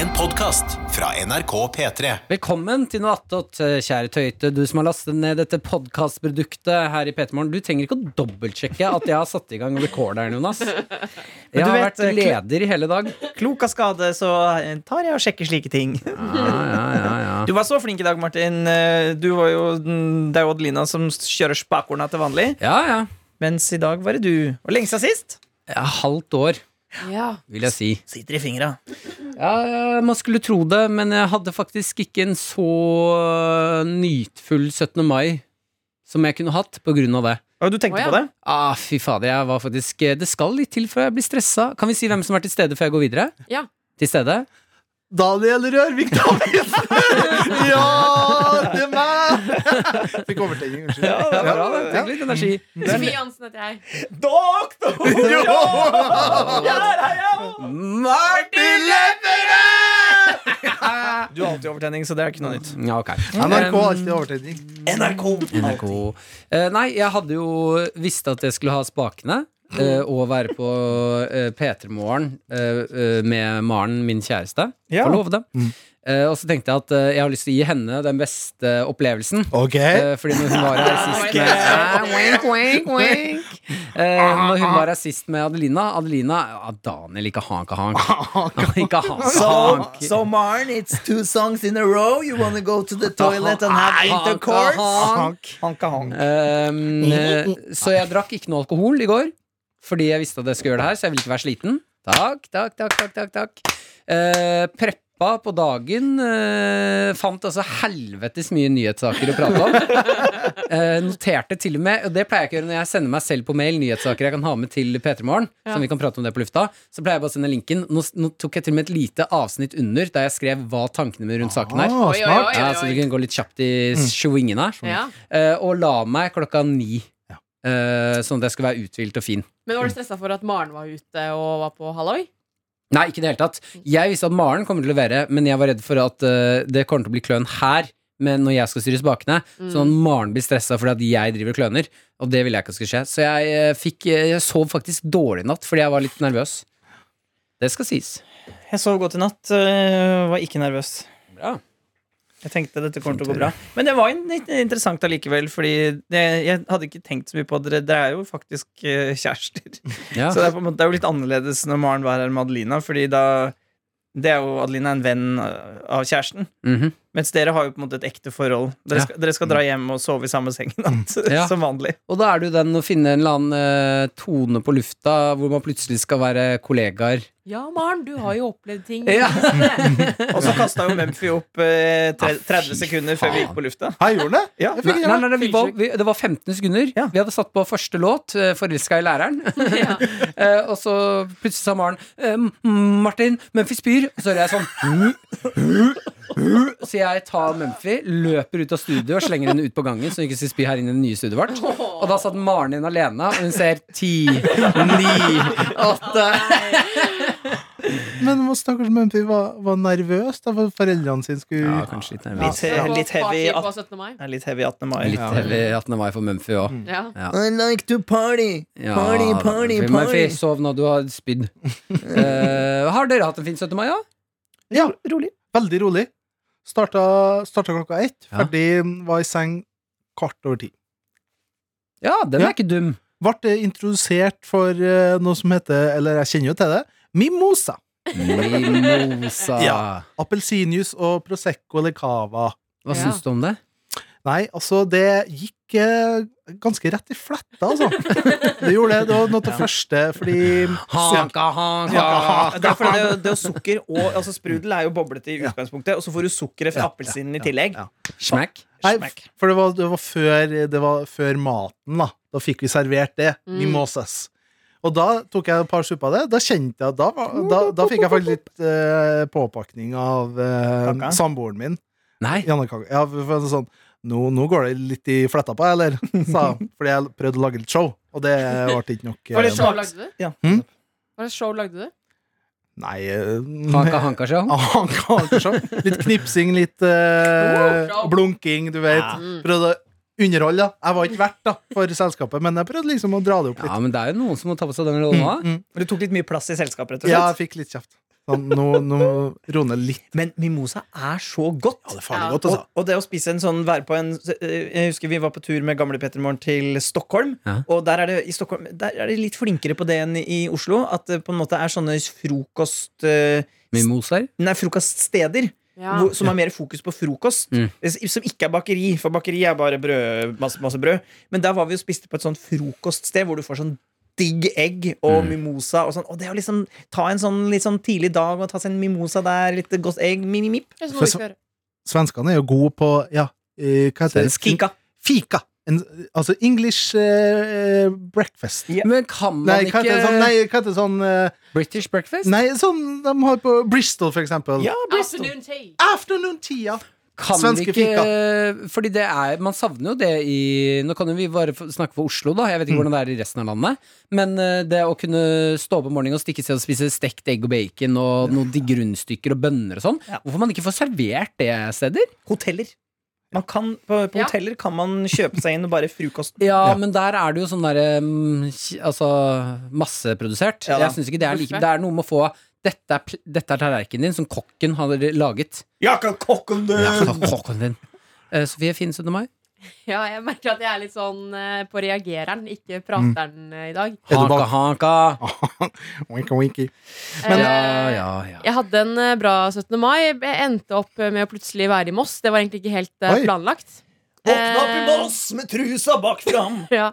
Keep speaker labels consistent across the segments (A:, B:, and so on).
A: En podcast fra NRK P3.
B: Velkommen til noe attåt, eh, kjære tøyte, du som har lastet ned dette podkastproduktet her i P3morgen. Du trenger ikke å dobbeltsjekke at jeg har satt i gang recorderen, Jonas. Jeg har
C: vet,
B: vært eh, leder i hele dag.
C: Klok av skade, så tar jeg og sjekker slike ting. Du var så flink i dag, Martin. Eh, Du var jo, mm, det er jo Adelina som kjører spakorna til vanlig.
B: Ja, ja.
C: Mens i dag var det du. Og lenge siden sist
B: ja halvt år,
D: Ja.
B: vil jeg si.
C: sitter i fingra.
B: Ja, ja, Man skulle tro det, men jeg hadde faktisk ikke en så eh, nytfull 17. mai som jeg kunne hatt på grunn av det.
C: Og du tenkte
D: Å, ja.
C: på det?
B: Ah, fy fader, jeg var faktisk eh, Det skal litt til før jeg blir stressa. Kan vi si hvem som er til stede før jeg går videre?
D: Ja.
B: Til stede?
E: Daniel Rørvik Davidsen! ja, det er meg! Fikk overtenning, unnskyld.
C: Ja, det var bra,
B: Tenk litt energi.
D: Sofie Jansen heter jeg.
C: Doktor! Der er jeg!
B: Martin
C: Du har alltid overtenning, så det er ikke noe nytt.
B: Ja, ok.
E: NRK har
B: Um,
E: alltid overtenning.
C: NRK.
B: NRK. Eh, nei, jeg hadde jo visst at jeg skulle ha spakene. eh, og være på uh, P3morgen eh, eh, med Maren, min kjæreste.
C: Ja.
B: Får lov, det. Eh, og så tenkte jeg at eh, jeg har lyst til å gi henne den beste opplevelsen.
E: Ok.
B: Eh, fordi når hun var her sist med Ah, wink, wink, wink. Eh, Når hun var her sist med Adelina Adelina ja, Daniel, ikke hank og hank. Ikke hank og hank.
C: Maren, it's two songs in a row. You wanna go to the
B: Hank.
C: Hanka hank.
B: Um, eh, så jeg drakk ikke noe alkohol i går, fordi jeg visste at jeg skulle gjøre det her, så jeg ville ikke være sliten. Takk, takk, takk, takk, takk, takk. Eh, preppa på dagen. eh, fant altså helvetes mye nyhetssaker å prate om. Eh, noterte til og med, og det pleier jeg ikke å gjøre når jeg sender meg selv på mail nyhetssaker jeg kan ha med til P3 Morgen, som vi kan prate om det på lufta, så pleier jeg bare å sende linken. Nå, nå tok jeg til og med et lite avsnitt under der jeg skrev hva tankene mine rundt saken er.
E: Ah,
D: Oi, oi,
E: smart.
D: oi.
B: Ja, så du kan gå litt kjapt i svingene her.
D: Ja.
B: Eh, og la meg klokka ni. Eh, sånn at jeg skulle være uthvilt og fin.
D: Men var du stressa for at Maren var ute og var på halloi?
B: Nei, ikke i det hele tatt. Jeg visste at Maren kommer til å levere, men jeg var redd for at eh, det kommer til å bli kløn her. Men når jeg skal styre spakene,
D: Mm.
B: sånn at Maren blir stressa fordi at jeg driver og kløner. Og det ville jeg ikke skulle skje. Så jeg, eh, fikk, jeg sov faktisk dårlig i natt fordi jeg var litt nervøs. Det skal sies.
C: Jeg sov godt i natt. øh, Var ikke nervøs.
B: Bra.
C: Jeg tenkte dette kommer til å gå bra. Men det var en- litt interessant allikevel, fordi det, jeg hadde ikke tenkt så mye på dere. Dere er jo faktisk eh, kjærester.
B: Ja.
C: Så det er, på en måte, det er jo litt annerledes når Maren var her med Adelina, fordi da det er jo Adelina er en venn eh, av kjæresten.
B: Mhm.
C: Mens dere har jo på en måte et ekte forhold. Dere
B: Ja. Mm.
C: skal, dere skal dra hjem og sove i samme seng i natt,
B: Ja.
C: som vanlig.
B: Og da er det jo den å finne en eller annen eh, tone på lufta hvor man plutselig skal være kollegaer.
D: Ja, Maren, du har jo opplevd ting.
B: Ja.
C: Og så kasta jo Mumphy opp eh, tre-
B: Ja, Ah, fy
C: 30 sekunder før vi gikk på lufta.
E: Hei, gjorde den det?
C: Ja.
E: Jeg fikk
B: Nei,
E: ikke
B: nei,
E: det.
B: nei, vi var, vi, det var 15 sekunder.
C: Ja.
B: Vi hadde satt på første låt, eh, 'Forelska i læreren'. Eh, og så plutselig sa Maren eh, M- 'Martin, Mumphy spyr'. Og så hører jeg sånn «Hu, hu, hu». Så jeg tar Mumphy, løper ut av studio og slenger henne ut på gangen. Så hun ikke skal spy her inne i det nye studioet vårt. Og da satt Maren igjen alene, og hun ser ti, ni, åtte
E: Men stakkars Mumphy var, var nervøs da for foreldrene sine skulle
B: Ja, kanskje litt nervøs.
C: Litt, eh, litt heavy
D: at...
C: at-
D: på 17. mai.
C: det er litt heavy 18. mai.
B: Litt heavy 18. mai for Mumphy òg.
D: Ja.
B: I
C: like to party.
B: Ja,
C: Party,
B: da,
C: party,
B: Mumphy, Mumphy,
C: party.
B: Sov nå, du har spydd. Eh, har dere hatt en fin 17. mai, ja?
E: Ja, rolig. Veldig rolig. Starta, starta klokka ett,
B: Ja.
E: ferdig var i seng kvart over ti.
B: Ja, den
E: Ja.
B: er ikke dum.
E: Ble introdusert for eh, noe som heter, eller jeg kjenner jo til det, mimosa.
B: Mimosa.
E: Ja. Appelsinjuice og Prosecco eller Cava.
B: Hva
D: Ja.
B: syns du om det?
E: Nei, altså, det gikk eh, ganske rett i fletta, altså. Det gjorde det. Det var noe av det første, fordi
B: Hanka, hanka.
C: Ja,
E: Ah.
C: det er fordi det, det er jo sukker og altså Sprudel er jo boblete i utgangspunktet, og så får du sukkeret fra
E: Ja,
C: appelsinen i
E: ja,
C: tillegg.
E: ja.
B: Smack.
E: Nei,
C: Smack.
E: for det var, det, var før, det var før maten, da. Da fikk vi servert det.
D: Mm.
E: Mimosas. Og da tok jeg et par supper av det. Da kjente jeg Da, var- da, da fikk jeg faktisk litt eh, påpakning av eh,
C: Kaka?
E: samboeren min.
B: Nei.
E: Janne Kaka. Ja, for- for sånn nå, nå går det litt i fletta på, eller? Sa hun. Fordi jeg prøvde å lage litt show, og det ble ikke nok.
C: Var det
E: eh,
C: show?
D: Show lagde du?
C: Ja.
E: Hm?
D: Hva slags show lagde du?
E: Nei eh,
B: Hanka, hanka, show.
E: Ja, han kan ikke se. Litt knipsing, litt eh,
D: Oh,
E: blunking, du vet.
C: Ja.
E: Prøvde å underholde. da. Jeg var ikke vert da, for selskapet, men jeg prøvde liksom å dra det opp
B: Ja,
E: litt.
B: men det er jo noen som må ta på seg den rollen òg.
E: Mm.
C: Du tok litt mye plass i selskapet, rett og
E: Ja,
C: slett.
E: jeg fikk litt kjeft. Sånn, nå, nå roer det litt.
C: Men mimosa er så godt.
E: Ja, det er
D: Ja.
E: farlig godt,
C: Og,
E: altså.
C: og det å spise en sånn være på en Jeg husker vi var på tur med gamle Petter Morgen til Stockholm.
B: Ja.
C: Og der er, det, i Stockholm, der er de litt flinkere på det enn i Oslo. At det på en måte er sånne frokost eh,
B: Mimoser?
C: Nei, frokoststeder
D: Ja.
C: hvor, som har mer fokus på frokost.
B: Mm.
C: eh, Som ikke er bakeri, for bakeri er bare brød, masse, masse brød. Men der var vi og spiste på et sånt frokoststed hvor du får sånn digg egg og mimosa. Og, sånn. og det å liksom ta en sånn litt sånn tidlig dag og ta seg en mimosa der, litt godt egg, mimimip.
D: Det er sånn vi skal gjøre.
E: Svenskene er jo gode på ja, eh, hva heter det?
C: Kika.
E: Fika. En, altså English eh, breakfast.
C: Ja.
B: Men kan man
E: Nei,
B: ikke
E: hva heter det sånn, nei, hva heter det sånn eh,
B: British breakfast?
E: Nei, sånn de har på Bristol, for eksempel.
C: Ja, Bristol.
D: Afternoon tea.
E: Afternoon-tida!
B: Kan
E: Svenske
B: vi ikke Fordi det er Man savner jo det i Nå kan jo vi bare få- snakke for Oslo, da. Jeg vet ikke
E: Mm.
B: hvordan det er i resten av landet. Men eh, det å kunne stå opp om morgenen og stikke seg og spise stekt egg og bacon og noen digge rundstykker og bønner og sånn,
C: Ja.
B: hvorfor man ikke får servert det steder?
C: Hoteller. Man kan, på på
D: Ja.
C: hoteller kan man kjøpe seg inn og bare frokosten.
B: Ja,
E: Ja.
B: men der er det jo sånn derre Altså masseprodusert.
C: Ja da.
B: Jeg syns ikke det er like
D: Buffet.
B: Det er noe med å få dette er, pl- dette er tallerkenen din som kokken har laget.
C: Jeg kan kokken det!
B: Ja, kokken din. Eh, Sofie, finnes under meg?
D: Ja, jeg merker at jeg er litt sånn eh, på reagereren, ikke prateren eh, i dag.
E: Er du
B: Haka,
E: bak-
B: haka.
E: Winky, winky.
D: Eh,
B: Ja, ja, ja.
D: Jeg hadde en eh, bra 17. mai. Jeg endte opp eh, med å plutselig være i Moss. Det var egentlig ikke helt eh,
E: Oi.
D: planlagt.
C: Våkna opp i
D: Eh,
C: Moss med trusa bak fram!
D: Ja.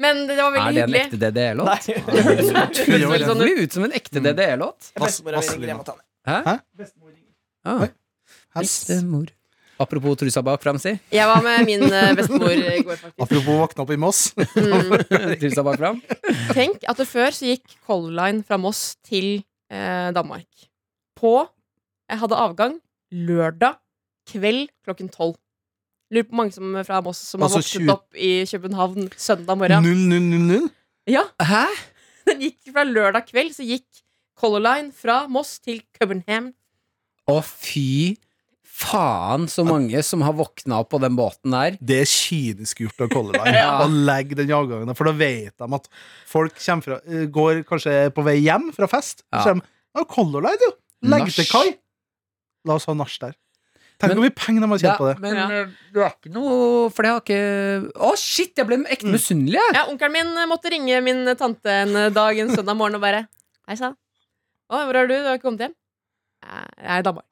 D: Men det
B: Er
D: var veldig
B: det en
D: hyggelig.
B: ekte DDE-låt?
C: Nei.
B: Det høres veldig ut som en ekte DDE-låt.
C: Bestemora
E: Vass-
C: ringer, jeg må ta den.
B: Ah.
E: Her-
B: Bestemor. Apropos trusa bak fram, si.
D: Jeg var med min eh, bestemor i går, faktisk.
E: Apropos våkne opp i Moss.
D: Mm.
B: trusa bak fram.
D: Tenk at det før så gikk Color Line fra Moss til eh, Danmark. På Jeg hadde avgang lørdag kveld klokken tolv. Lurer på mange som er fra Moss som har
E: Altså
D: vokst
E: 20
D: opp i København søndag morgen.
E: 0000.
D: Ja,
B: Hæ?
D: den gikk Fra lørdag kveld så gikk Color Line fra Moss til København.
B: Å, fy faen, så mange som har våkna opp på den båten der.
E: Det er kynisk gjort av Color Line
B: Ja.
E: å legge den avgangen der, for da vet de at folk kommer fra, eh, går kanskje på vei hjem fra fest.
B: Ja.
E: Ja. Så kommer de, ja, Color Line, jo! Legg til
B: Nach.
E: kai! La oss ha nach der. Tenk
B: Men-
E: hvor mye penger de har tjent på det.
B: men
D: Ja.
B: eh, det er ikke noe For det har ikke Å, shit! Jeg ble ekte misunnelig, jeg.
D: Ja, Onkelen min eh, måtte ringe min tante en eh, dag en søndag morgen og bare Hei sann. Å, hvor er du? Du har ikke kommet hjem? «Eh, Jeg er i Danmark.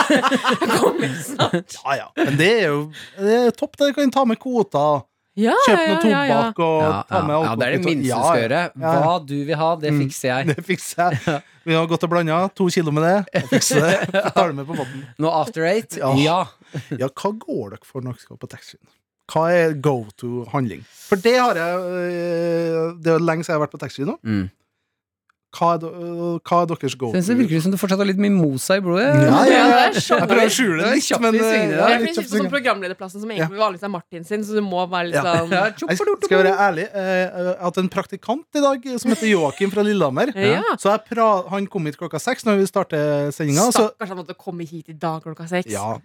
D: jeg kommer snart.
E: Ja, ja. Men det er jo det er topp. Dere kan ta med kvoter.
D: Ja,
E: Kjøpe
D: ja,
E: noe
D: ja, ja.
E: tobakk og
B: Ja,
E: ta med
B: ja, ja, det er det
E: alkohol.
B: minste
E: Ja,
B: du skal
E: ja.
B: gjøre.
E: Ja, ja.
B: Hva du vil ha, det
E: Mm.
B: fikser jeg.
E: Det fikser jeg. Vi har gått og blanda. To kilo med det. Jeg fikser det. Tar det med på båten.
B: Nå after eight?
E: Ja.
B: Ja.
E: Ja, hva går dere for når dere skal på taxfree? Hva er go to handling? For det har jeg øh, Det er jo lenge siden jeg har vært på taxfree nå.
B: Mm.
E: Hva er, de- øh, hva er deres go to?
B: Synes det virker som du fortsatt har litt mimosa i blodet.
E: Ja, ja, ja.
D: Det er sånn.
E: Jeg prøver å skjule
B: Det
E: det
B: er
E: litt,
B: kjapt
E: men
B: i
E: øh,
B: svingene der.
E: ja,
D: Jeg
E: litt
D: blir litt
E: kjapt i
D: sånn
E: svingene.
D: programlederplassen som egentlig vanligvis er Martin sin, så du må være litt
E: Ja.
D: sånn
B: Ja,
D: Ja.
B: tjopp,
E: Jeg skal jeg være ærlig. øh, Jeg har hatt en praktikant i dag som heter Joakim fra Lillehammer. Så jeg pra han kom hit klokka seks når vi starter sendinga. Så
D: Stakkars han måtte komme hit i dag klokka seks.
E: ja,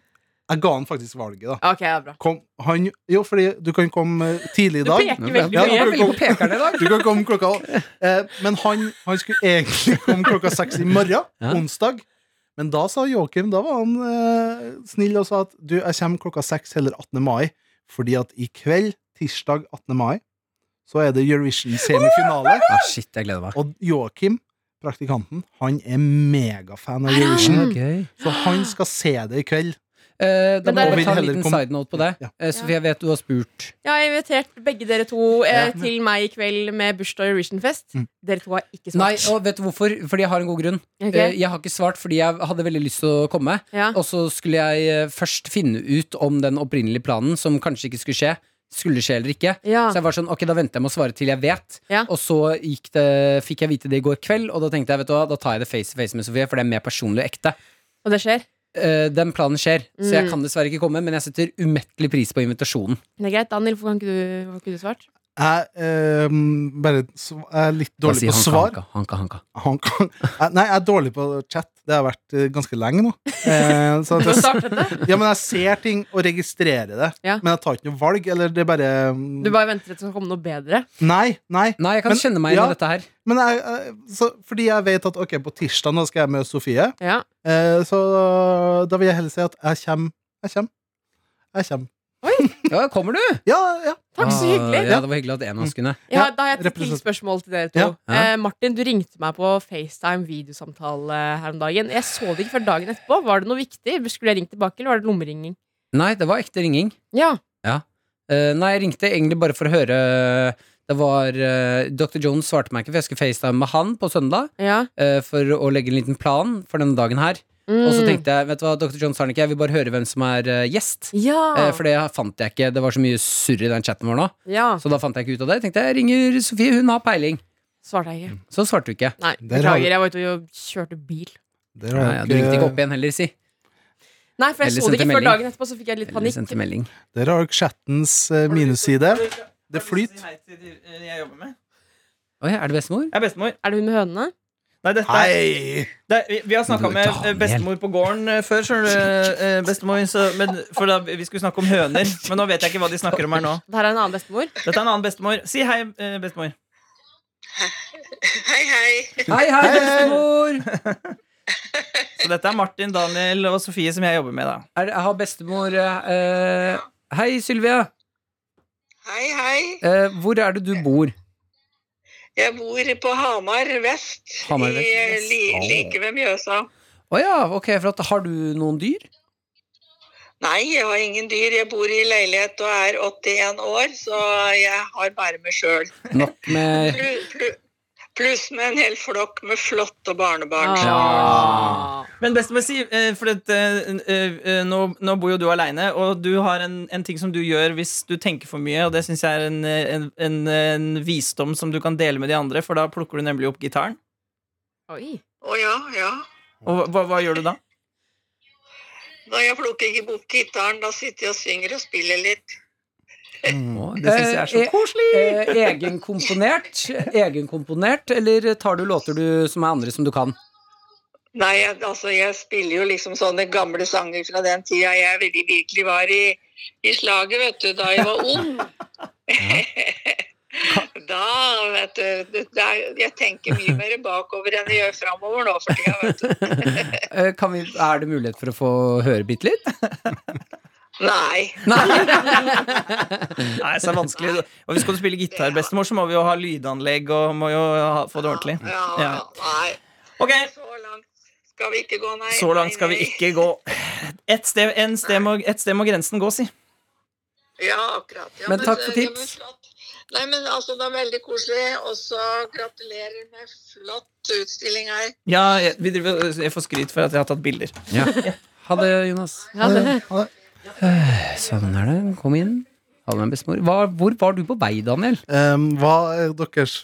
E: jeg ga han faktisk valget, da.
D: Ok, ja, bra.
E: Kom, han, jo, fordi du kan komme øh, tidlig i
D: Du
E: dag.
D: peker
B: Ja,
D: veldig
B: du er
D: mye.
B: veldig på pekeren i dag.
E: Du kan komme klokka eh, Men han, han skulle egentlig komme klokka seks i morgen,
B: Ja.
E: onsdag. Men da sa Joakim, da var han eh, snill og sa at du, jeg kommer klokka seks heller 18. mai, fordi at i kveld, tirsdag 18. mai, så er det Eurovision-semifinale.
B: Ah, shit, jeg gleder meg.
E: Og Joakim, praktikanten, han er megafan av
D: Er han?
E: Eurovision,
D: Mm.
B: gøy.
E: så han skal se det i kveld.
B: Eh, da
D: Men
B: må
D: der-
B: vi ta en
E: Vil
B: liten
E: heller komme-
B: side note på det.
E: Ja.
B: Eh, Sofie, jeg vet du har spurt.
D: Jeg har invitert begge dere to eh,
E: Ja.
D: til meg i kveld med bursdag og Eurovision-fest.
E: Mm.
D: Dere to har ikke
B: Nei,
D: svart.
B: og vet du hvorfor? Fordi jeg har en god grunn.
D: Ok?
B: Eh, jeg har ikke svart fordi jeg hadde veldig lyst til å komme.
D: ja.
B: Og så skulle jeg eh, først finne ut om den opprinnelige planen, som kanskje ikke skulle skje, skulle skje eller ikke.
D: Ja.
B: Så jeg var sånn, ok, da venter jeg med å svare til jeg vet.
D: Ja.
B: Og så gikk det, fikk jeg vite det i går kveld, og da tenkte jeg, vet du hva, da tar jeg det face to face med Sofie, for det er mer personlig og ekte.
D: Og det skjer?
B: Eh, den planen skjer, så jeg
D: Mm.
B: kan dessverre ikke komme, men jeg setter umettelig pris på invitasjonen.
D: Det er greit. Daniel, hvorfor kan ikke du, hvorfor har ikke du svart?
E: Jeg eh, bare sv- jeg er litt dårlig på svar.
B: Hanka, hanka, hanka.
E: Hong Kong. Jeg- Nei, jeg er dårlig på chat. Det har jeg vært eh, ganske lenge nå. Eh, så at
D: Du har
E: jeg,
D: startet det.
E: ja, men jeg ser ting og registrerer det,
D: Ja.
E: men jeg tar ikke noe valg. Eller det er bare mm,
D: Du bare venter etter å komme noe bedre.
E: Nei, nei.
B: Nei, jeg kan
E: Men-
B: kjenne meg igjen
E: ja.
B: i dette her.
E: Men jeg, jeg- så, fordi jeg vet at ok, på tirsdag nå skal jeg møte Sofie,
D: Ja.
E: eh, så da vil jeg heller si at jeg kommer. Jeg kommer. Jeg kommer.
B: Ja, kommer du? Ah,
E: Ja, ja.
D: Takk, så hyggelig.
B: Ja, det var hyggelig at en av
E: Mm.
B: oss kunne.
D: Ja, da har jeg et til
E: representant-
D: spørsmål til dere to.
E: Ja.
B: Ja.
D: Eh, Martin, du ringte meg på FaceTime videosamtale eh, her om dagen. Jeg så det ikke før dagen etterpå. Var det noe viktig? Skulle jeg ringt tilbake, eller var det lommeringing?
B: Nei, det var ekte ringing.
D: Ja.
B: Eh, nei, jeg ringte egentlig bare for å høre Det var eh, Dr. Jones svarte meg ikke, for jeg skulle facetime med han på søndag
D: ja.
B: eh, for å legge en liten plan for denne dagen her.
D: Mm.
B: Og så tenkte jeg, vet du hva, Dr. Jones har den ikke, jeg vil bare høre hvem som er eh, gjest.
D: ja.
B: Eh, for det fant jeg ikke, det var så mye surr i den chatten vår nå.
D: ja.
B: Så da fant jeg ikke ut av det. Jeg tenkte jeg ringer Sofie, hun har peiling.
D: Svarte jeg ikke.
B: Så svarte Mm. du ikke.
D: Nei,
E: Der har
D: beklager.
E: du-
D: Jeg var ute og kjørte bil.
E: Der
B: Ja,
E: har
B: ja, du ringte ikke
E: dere
B: opp igjen heller, si.
D: Nei, for jeg
B: Eller
D: så det
B: sendte
D: ikke før
B: melding.
D: dagen etterpå, så fikk jeg litt
B: Eller
D: panikk.
B: sendte melding.
E: der har dere chattens eh, minusside. Det flyter.
C: Jeg jobber med
B: Oi, er det bestemor?
C: Jeg er bestemor.
D: Er det hun med hønene?
C: Nei, dette er,
E: Hei!
C: det er, vi, vi har snakka med eh,
B: Daniel.
C: bestemor på gården eh, før, skjønner du. eh, Bestemor, så, men, for da, vi skulle snakke om høner, men nå vet jeg ikke hva de snakker om her nå.
D: Det her er en annen bestemor.
C: Dette er en annen bestemor. Si hei, eh, bestemor.
F: Hei, hei.
B: Hei, hei, bestemor!
C: Så dette er Martin, Daniel og Sofie som jeg jobber med, da.
B: Er, har bestemor eh, Hei, Sylvia.
F: Hei, hei.
B: Eh, hvor er det du bor?
F: Jeg bor på Hamar vest,
B: Hamar
F: i,
B: vest,
F: eh,
B: yes.
F: Li, like ved Mjøsa.
B: Å ja, ok, for at, har du noen dyr?
F: Nei, jeg har ingen dyr. Jeg bor i leilighet og er 81 år, så jeg har bare meg sjøl.
B: Nok med
F: Plu- plu- Pluss med en hel flokk med flotte barnebarn.
B: Ja.
D: Ah.
C: Men bestemor, si, eh, for at, eh, eh, eh, nå, nå bor jo du aleine, og du har en, en ting som du gjør hvis du tenker for mye, og det syns jeg er en, eh, en, en, en visdom som du kan dele med de andre, for da plukker du nemlig opp gitaren.
D: Oi.
F: Å ja, ja.
C: Og hva, hva gjør du da?
F: Når jeg plukker ikke bort gitaren, da sitter jeg og synger og spiller litt.
E: Mm.
B: Å,
C: Det syns jeg er så
B: eh,
C: koselig!
B: eh, Egenkomponert? Egenkomponert, eller tar du låter du, som er andre som du kan?
F: Nei, jeg, altså jeg spiller jo liksom sånne gamle sanger fra den tida jeg virkelig, virkelig var i, i slaget, vet du, da jeg var ung. da, vet du det- det er- Jeg tenker mye mer bakover enn jeg gjør framover nå for tida, vet du.
B: Eh, kan vi, er det mulighet for å få høre bitte litt?
F: Nei.
C: Nei, så er det vanskelig. Og hvis du skal spille gitar, bestemor, så må vi jo ha lydanlegg og må jo ha, få det ordentlig.
F: Ja,
C: Ja.
F: nei.
C: Ok,
F: Så langt skal vi ikke gå, nei.
C: så langt
F: nei,
C: skal vi
F: nei.
C: ikke gå. Et sted, en sted, må, et sted må grensen gå, si.
F: Ja, akkurat. Ja,
B: Men takk
F: det-
B: for
F: det var
B: tips.
F: flott. Nei, men altså, det er veldig koselig, og så gratulerer med flott utstilling her.
C: Ja, jeg, vi driver, jeg får skryt for at jeg har tatt bilder.
B: Ja. Ha det, Jonas.
D: Ja, det.
E: Ha det.
B: Eh, Sånn er det. Kom inn. Ha det med bestemor. Hva, hvor var du på vei, Daniel?
E: Um, hva er deres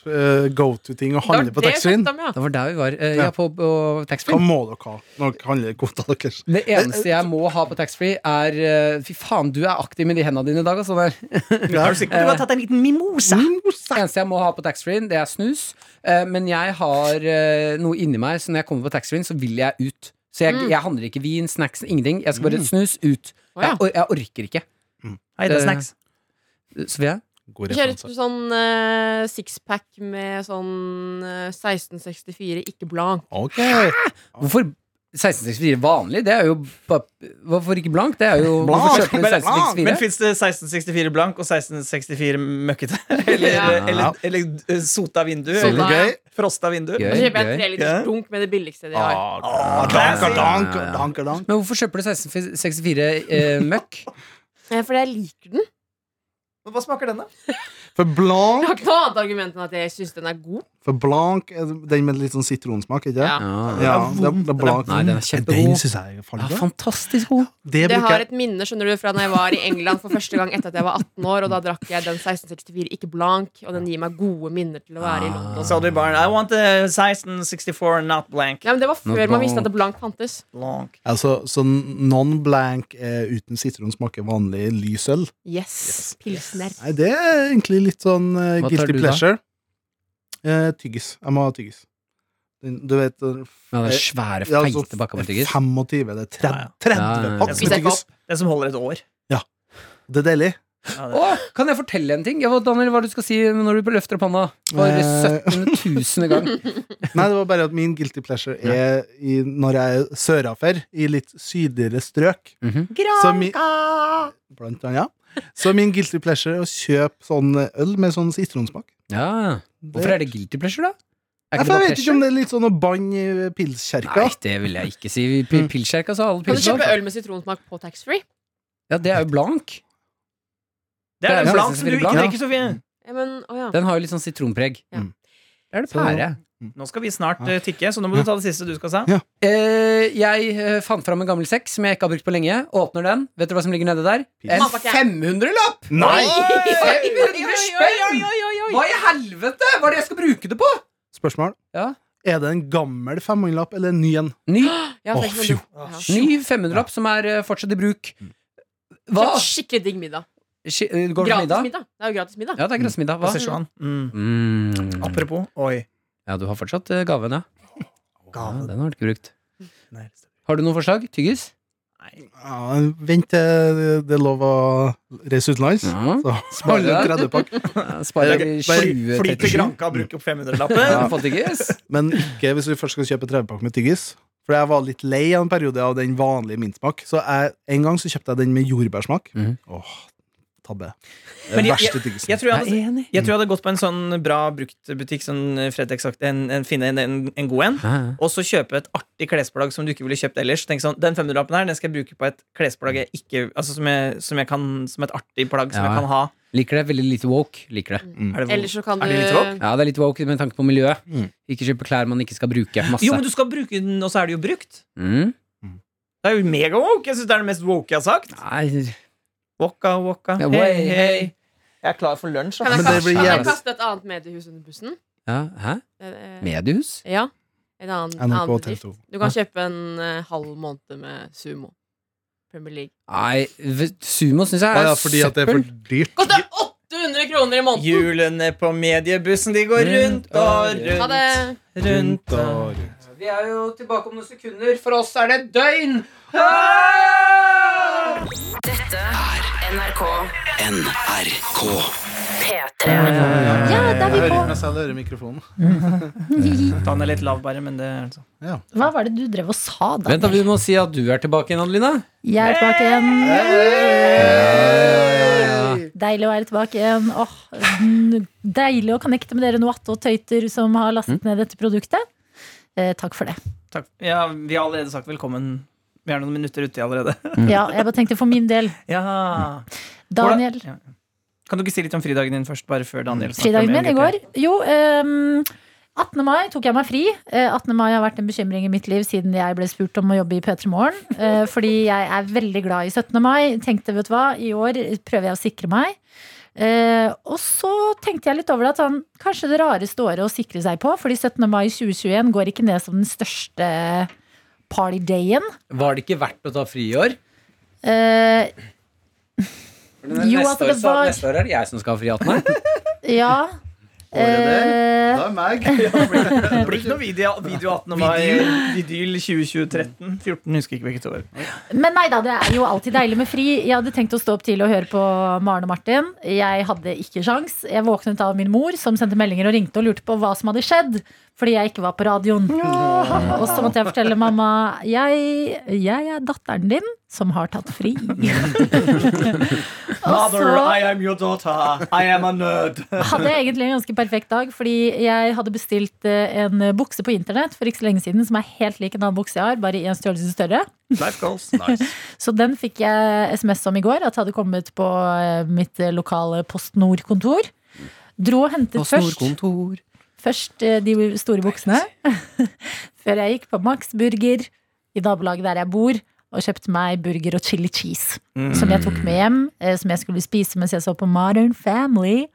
E: go to-ting å handle
D: Det var
E: på
D: det jeg
E: taxfree-en?
D: snakket om, ja.
B: Det var der vi var. Eh,
E: Ja.
B: ja, på, på
E: Hva
B: taxfree.
E: må dere ha når dere handler godt av deres?
B: Det eneste jeg må ha på taxfree, er eh, Fy faen, du er aktiv med de hendene dine i dag, altså. Der.
C: Er du sikker? Du har tatt en liten mimosa.
B: Det eneste jeg må ha på taxfree-en, det er snus. Eh, men jeg har eh, noe inni meg, så når jeg kommer på taxfree-en, så vil jeg ut. Så jeg,
E: Mm.
B: jeg handler ikke vin, snacks, ingenting. Jeg skal bare snus ut.
D: Å, ja.
B: jeg, or- jeg orker ikke.
C: Hei, det er snacks.
B: Sofie?
E: God
D: Kjører
E: referanse.
D: på sånn eh, sixpack med sånn eh, 1664 ikke blank.
E: Ok.
B: Hvorfor 1664 vanlig? Det er jo ba- Hvorfor ikke blank? Det er jo
E: Blank,
B: Hvorfor kjøper du
E: bare blank,
B: 1664?
C: Men fins det 1664 blank og 1664 møkkete? Eller,
D: Ja.
C: eller, eller, eh, sota vindu?
D: Sota,
C: Eller
D: ja.
E: Gøy.
C: frosta vindu?
B: Gøy.
D: Og så kjøper Altså, jeg
B: gøy.
D: tre
C: Ja.
D: liters dunk med det billigste de har.
E: Ah,
C: classy.
E: danka, danka, danka, danka.
B: Men hvorfor kjøper du 1664 eh, møkk?
D: Eh, Fordi jeg liker den.
C: Men Hva smaker den, da?
E: For
D: Jeg
E: blank
D: har ikke noe annet argument enn at jeg syns den er god.
E: For blank er den med litt sånn sitronsmak, ikke det?
D: Ja.
B: Ja.
E: Ja, det er, det er blank.
B: Nei, den er kjempegod.
E: syns jeg er
B: Ja,
E: farlig. bra.
B: fantastisk god.
E: Det
D: Det
E: bruker
D: har
E: jeg
D: et minne skjønner du, fra da jeg var i England for første gang etter at jeg var 18 år. Og da drakk jeg den 1664 ikke blank, og den gir meg gode minner til å
B: Ah.
D: være i London.
C: Sa du i baren I want the 1664 not blank.
D: Nei, men Det var
B: Nå,
D: før man visste
B: blank.
D: at det blank fantes.
C: Blank.
E: altså, Så non-blank eh, uten sitron smaker vanlig lys øl.
D: Yes, Pilsner.
E: Nei, det er egentlig litt sånn
B: Hva
E: eh,
B: tar
E: guilty
B: du da?
E: pleasure. Eh, tyggis. Jeg må ha tyggis. Den- Du vet eh,
B: Ja, den
E: Eh,
B: svære,
E: ja, altså,
B: feite pakka med tyggis.
E: 25 eller 30, 30
B: Ja, ja, ja.
E: pakk
C: Spiser
D: jeg
E: med
D: ikke
E: tyggis.
C: Den som holder et år.
E: Det er deilig.
C: Ja, det.
B: Å, kan jeg fortelle en ting? Ja, hva- Daniel, hva er det du skal si når du løfter opp hånda? For
E: Eh.
B: 17.000 gang.
E: Nei, det var bare at min guilty pleasure er i, når jeg er sørafor, i litt sydligere strøk.
B: Mhm.
E: Så mi- Blant annet. Så min guilty pleasure er å kjøpe sånn øl med sånn sitronsmak.
B: Ja. Hvorfor er det guilty pleasure, da? Er ikke
E: Nei, for
B: det
E: jeg
B: bare
E: vet ikke
B: pleasure?
E: om det er litt sånn å banne i pilskjerka.
B: Nei, det vil jeg ikke si.
D: Mm.
B: P- Pilskjerka sa altså. alle
D: Kan du
B: pilser.
D: kjøpe øl med sitronsmak på taxfree?
B: Ja, det er jo blank.
C: Det er
B: Ja,
C: den blank som du
B: blank,
C: ikke
B: ja.
C: drikker, Sofie.
D: Ja, men, å ja.
B: Den har jo litt sånn sitronpreg.
D: Ja.
E: Mm.
B: Der er det
E: Så-
B: pære.
C: Nå skal vi snart eh, tikke, så nå må du ta det siste du skal si.
E: Ja.
B: Eh, jeg eh, fant fram en gammel sekk som jeg ikke har brukt på lenge. Åpner den. Vet du hva som ligger nede der? En
D: Matpakke.
B: 500-lapp!
E: Nei!
D: Oi, oi, oi, oi, oi, oi, oi.
B: Hva i helvete? Hva er det jeg skal bruke det på?
E: Spørsmål.
B: Ja.
E: Er det en gammel femhundrelapp eller en ny en?
B: Ny,
D: Ja,
E: Å,
D: tenk om
E: fjo.
D: du- ja.
B: ny 500-lapp som er eh, fortsatt i bruk. Hva?
D: Kjøpt Skikkelig digg middag.
B: Ski- eh, Går det
D: Gratis
B: for middag?
D: middag. Det er jo gratis middag.
B: Ja, det er gratis middag.
C: Hva
B: Hva?
C: sier Johan? Mm.
B: Mm.
C: Apropos Oi.
B: Ja, du har fortsatt eh, gaven, ja. ja.
C: Gaven.
B: Den har du ikke brukt.
C: Nei,
B: Har du noen forslag? Tyggis?
E: Ja, vent til det er lov å reise utenlands.
B: Ja.
E: Så
B: Sparer
E: holder
B: deg.
E: 30 pakk.
B: Ja, Sparer
C: Bare-
B: vi
C: bare Fly til
B: 20-37?
C: Granca og bruk opp
B: eh, Ja,
C: 500-lappen.
B: på tyggis?
E: Men ikke hvis vi først skal kjøpe 30 pakk med tyggis. For jeg var litt lei av en periode av den vanlige mintsmak. Så jeg, en gang så kjøpte jeg den med jordbærsmak.
B: Mhm.
E: Åh, tabbe.
C: Men jeg-
E: Verste tyggisen.
C: Jeg tror jeg hadde
B: Jeg er enig.
C: Jeg tror jeg hadde gått på en sånn bra bruktbutikk, sånn Fredrik sagt, en, en, finne en, en, en god en,
B: Ja, ja.
C: og så kjøpe et artig klesplagg som du ikke ville kjøpt ellers. Tenk sånn, Den 500-lappen her den skal jeg bruke på et klesplagg jeg ikke Altså som, jeg, som, jeg kan, som et artig plagg som
B: Ja.
C: jeg kan ha.
B: Liker det. Veldig lite woke. Liker det.
C: Er det
D: Eller så kan du
C: Er det litt rått?
B: Ja, det er litt woke med tanke på miljøet.
E: Mm.
B: Ikke kjøpe klær man ikke skal bruke. Masse.
C: Jo, men du skal bruke den, og så er det jo brukt.
B: mm.
C: Det er jo mega-woke. Jeg syns det er det mest woke jeg har sagt.
B: Nei,
C: Wokka, wokka,
B: Ja,
C: hei,
B: way,
C: hei. Jeg er klar for lunsj. altså.
D: Kan jeg,
E: Men
D: kaste,
E: det blir
D: kan jeg
E: jævlig-
D: kaste et annet mediehus under bussen?
B: ja, hæ?
D: Eh,
B: Mediehus?
D: Ja. En annen, annen
E: NRK TV
D: bedrift.
E: 2.
D: Du kan kjøpe en eh, halv måned med sumo. Premier League.
B: Nei, v- sumo syns jeg
E: Ja,
B: er
E: ja, fordi at det er
B: søppel.
E: for dyrt.
D: Koster 800 kroner i måneden!
C: Hjulene på mediebussen, de går rundt og
D: Ha det.
C: rundt. eh, Rundt og
E: og rundt.
B: Vi er jo tilbake om noen sekunder. For oss er det et døgn!
D: Ja,
B: Eh,
D: der
E: Jeg
D: vi på.
E: hører meg selv høre mikrofonen.
C: Den er litt lav, bare, men det er sånn.
G: Hva var det du drev og sa da?
B: Vent da, Vi må si at du er tilbake igjen, Adelina.
G: Jeg er tilbake igjen. Deilig å være tilbake igjen. Åh, n- deilig å connecte med dere noatte og tøyter som har
B: Mm.
G: lastet ned dette produktet. Eh, takk for det.
C: Takk. Ja, vi har allerede sagt velkommen. Vi er noen minutter uti allerede.
B: Mm.
G: Ja, jeg bare tenkte for min del.
C: Ja.
G: Daniel.
C: Hvordan- Ja. Kan du ikke si litt om fridagen din først, bare før Daniel snakker
G: Fridagen
C: om
G: min i
C: LGBT?
G: går. Jo, ehm, 18. mai tok jeg meg fri. Eh, 18. mai har vært en bekymring i mitt liv siden jeg ble spurt om å jobbe i P3 Morgen. Eh, fordi jeg er veldig glad i 17. mai. Tenkte, vet du hva, i år prøver jeg å sikre meg. Eh, og så tenkte jeg litt over det at sånn, kanskje det rareste året å sikre seg på, fordi 17. mai 2021 går ikke ned som den største partydayen.
B: Var det ikke verdt å ta fri i år?
G: Eh, Jo,
B: neste, år,
G: altså, det
B: så,
G: var-
B: neste år er det jeg som skal ha fri 18.
G: ja. Eh,
E: er meg.
C: Det blir ikke noe video, video 18. mai. Vidyl 2013. 14, husker ikke hvilket år.
G: Men nei da, det er jo alltid deilig med fri. Jeg hadde tenkt å stå opp tidlig og høre på Maren og Martin. Jeg hadde ikke sjans. Jeg våknet av min mor, som sendte meldinger og ringte og lurte på hva som hadde skjedd. Fordi jeg ikke var på radioen. Og så måtte jeg fortelle mamma jeg, jeg er datteren din som har tatt fri. Og
C: Mother,
G: så-
C: I am your daughter. I am a nerd.
G: hadde jeg egentlig en ganske perfekt dag, fordi jeg hadde bestilt eh, en bukse på internett for ikke så lenge siden som er helt lik en annen bukse jeg har, bare i en størrelse større.
C: Life goals. Nice.
G: Så den fikk jeg SMS om i går, at det hadde kommet på eh, mitt eh, lokale PostNord-kontor. Dro og hentet først, Først eh, de store buksene. Før jeg gikk på Max Burger i nabolaget der jeg bor, og kjøpte meg burger og chili cheese. Som jeg tok med hjem, eh, som jeg skulle spise mens jeg så på Modern Family.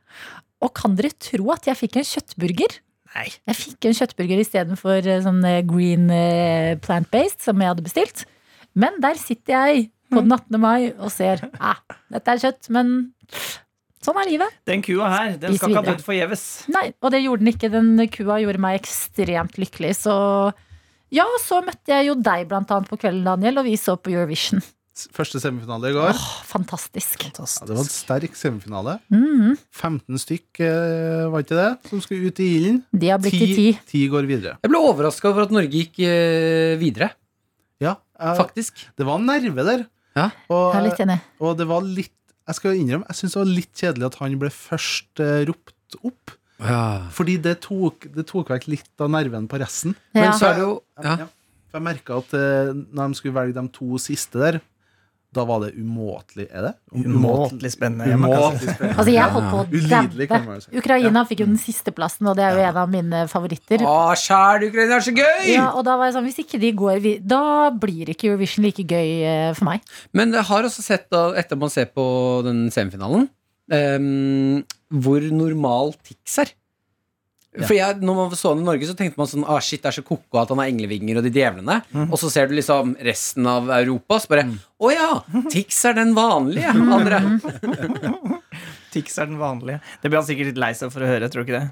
G: Og kan dere tro at jeg fikk en kjøttburger?
C: Nei.
G: Jeg fikk en kjøttburger istedenfor sånn eh, green eh, plant-based som jeg hadde bestilt. Men der sitter jeg på den 18. mai og ser ah, dette er kjøtt, men sånn er livet.
C: Den kua her, den
G: Spis
C: skal ikke ha
G: videre.
C: dødd forgjeves.
G: Nei, og det gjorde den ikke. Den kua gjorde meg ekstremt lykkelig. Så ja, så møtte jeg jo deg blant annet på kvelden, Daniel, og vi så på Eurovision.
E: Første semifinale i går.
G: Åh, fantastisk. Mm,
E: Ja, det var en sterk semifinale. 15 stykk, eh, var ikke det, som skulle ut i ilden.
G: De har blitt til ti.
E: ti går videre.
B: Jeg ble overraska over at Norge gikk eh, videre,
E: Ja, jeg-
B: faktisk.
E: det var en nerve der.
B: Ja.
E: Og, eh,
G: Jeg er litt enig.
E: og det var litt Jeg skal innrømme, jeg syns det var litt kjedelig at han ble først eh, ropt opp. Fordi det tok, det tok vekk litt av nerven på resten.
B: Men
G: Ja.
B: så er det jo ja.
E: Ja. For jeg merka at eh, når de skulle velge de to siste der, da var det umåtelig Er det?
C: Umåtelig spennende. ja, man kan si.
E: Umåtelig spennende.
G: Altså, jeg holdt på å
E: Ulidelig, kan
G: dabbe.
E: man si.
G: Ukraina fikk jo den siste plassen, og det er jo en av mine favoritter.
B: Å, kjære Ah, Ukraina, det er så gøy!
G: Ja, og da var jeg sånn, hvis ikke de går, vi- da blir ikke Eurovision like gøy eh, for meg.
B: Men jeg har også sett, da, etter man ser på den semifinalen, ehm, hvor normal Tix er. For jeg, når man så han i Norge, så tenkte man sånn ah, shit, det er så koko at han har englevinger og de djevlene. Og så ser du liksom resten av Europa, så bare Å ja! Tix er den vanlige, andre.
C: Tix er den vanlige. Det blir han sikkert litt lei seg for å høre, tror du ikke det?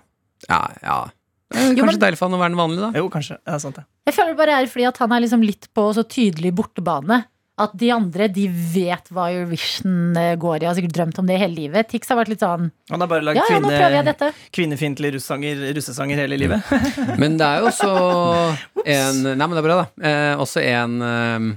B: Ja, ja. Det er
G: Jo, men-
B: kanskje deilig for han å være den vanlige, da.
C: Jo, kanskje. Ja, sant det.
G: Jeg føler det bare er fordi at han er liksom litt på så tydelig bortebane. At de andre de vet hva Eurovision eh, går i. Jeg har sikkert drømt om det hele livet. Tix har vært litt sånn
C: Han har bare lagd
G: Ja, ja, nå prøver jeg
C: kvinne,
G: dette.
C: kvinnefiendtlige russanger, russesanger hele livet.
B: Men det er jo også en Nei, men det er bra, da. Eh, også en ehm,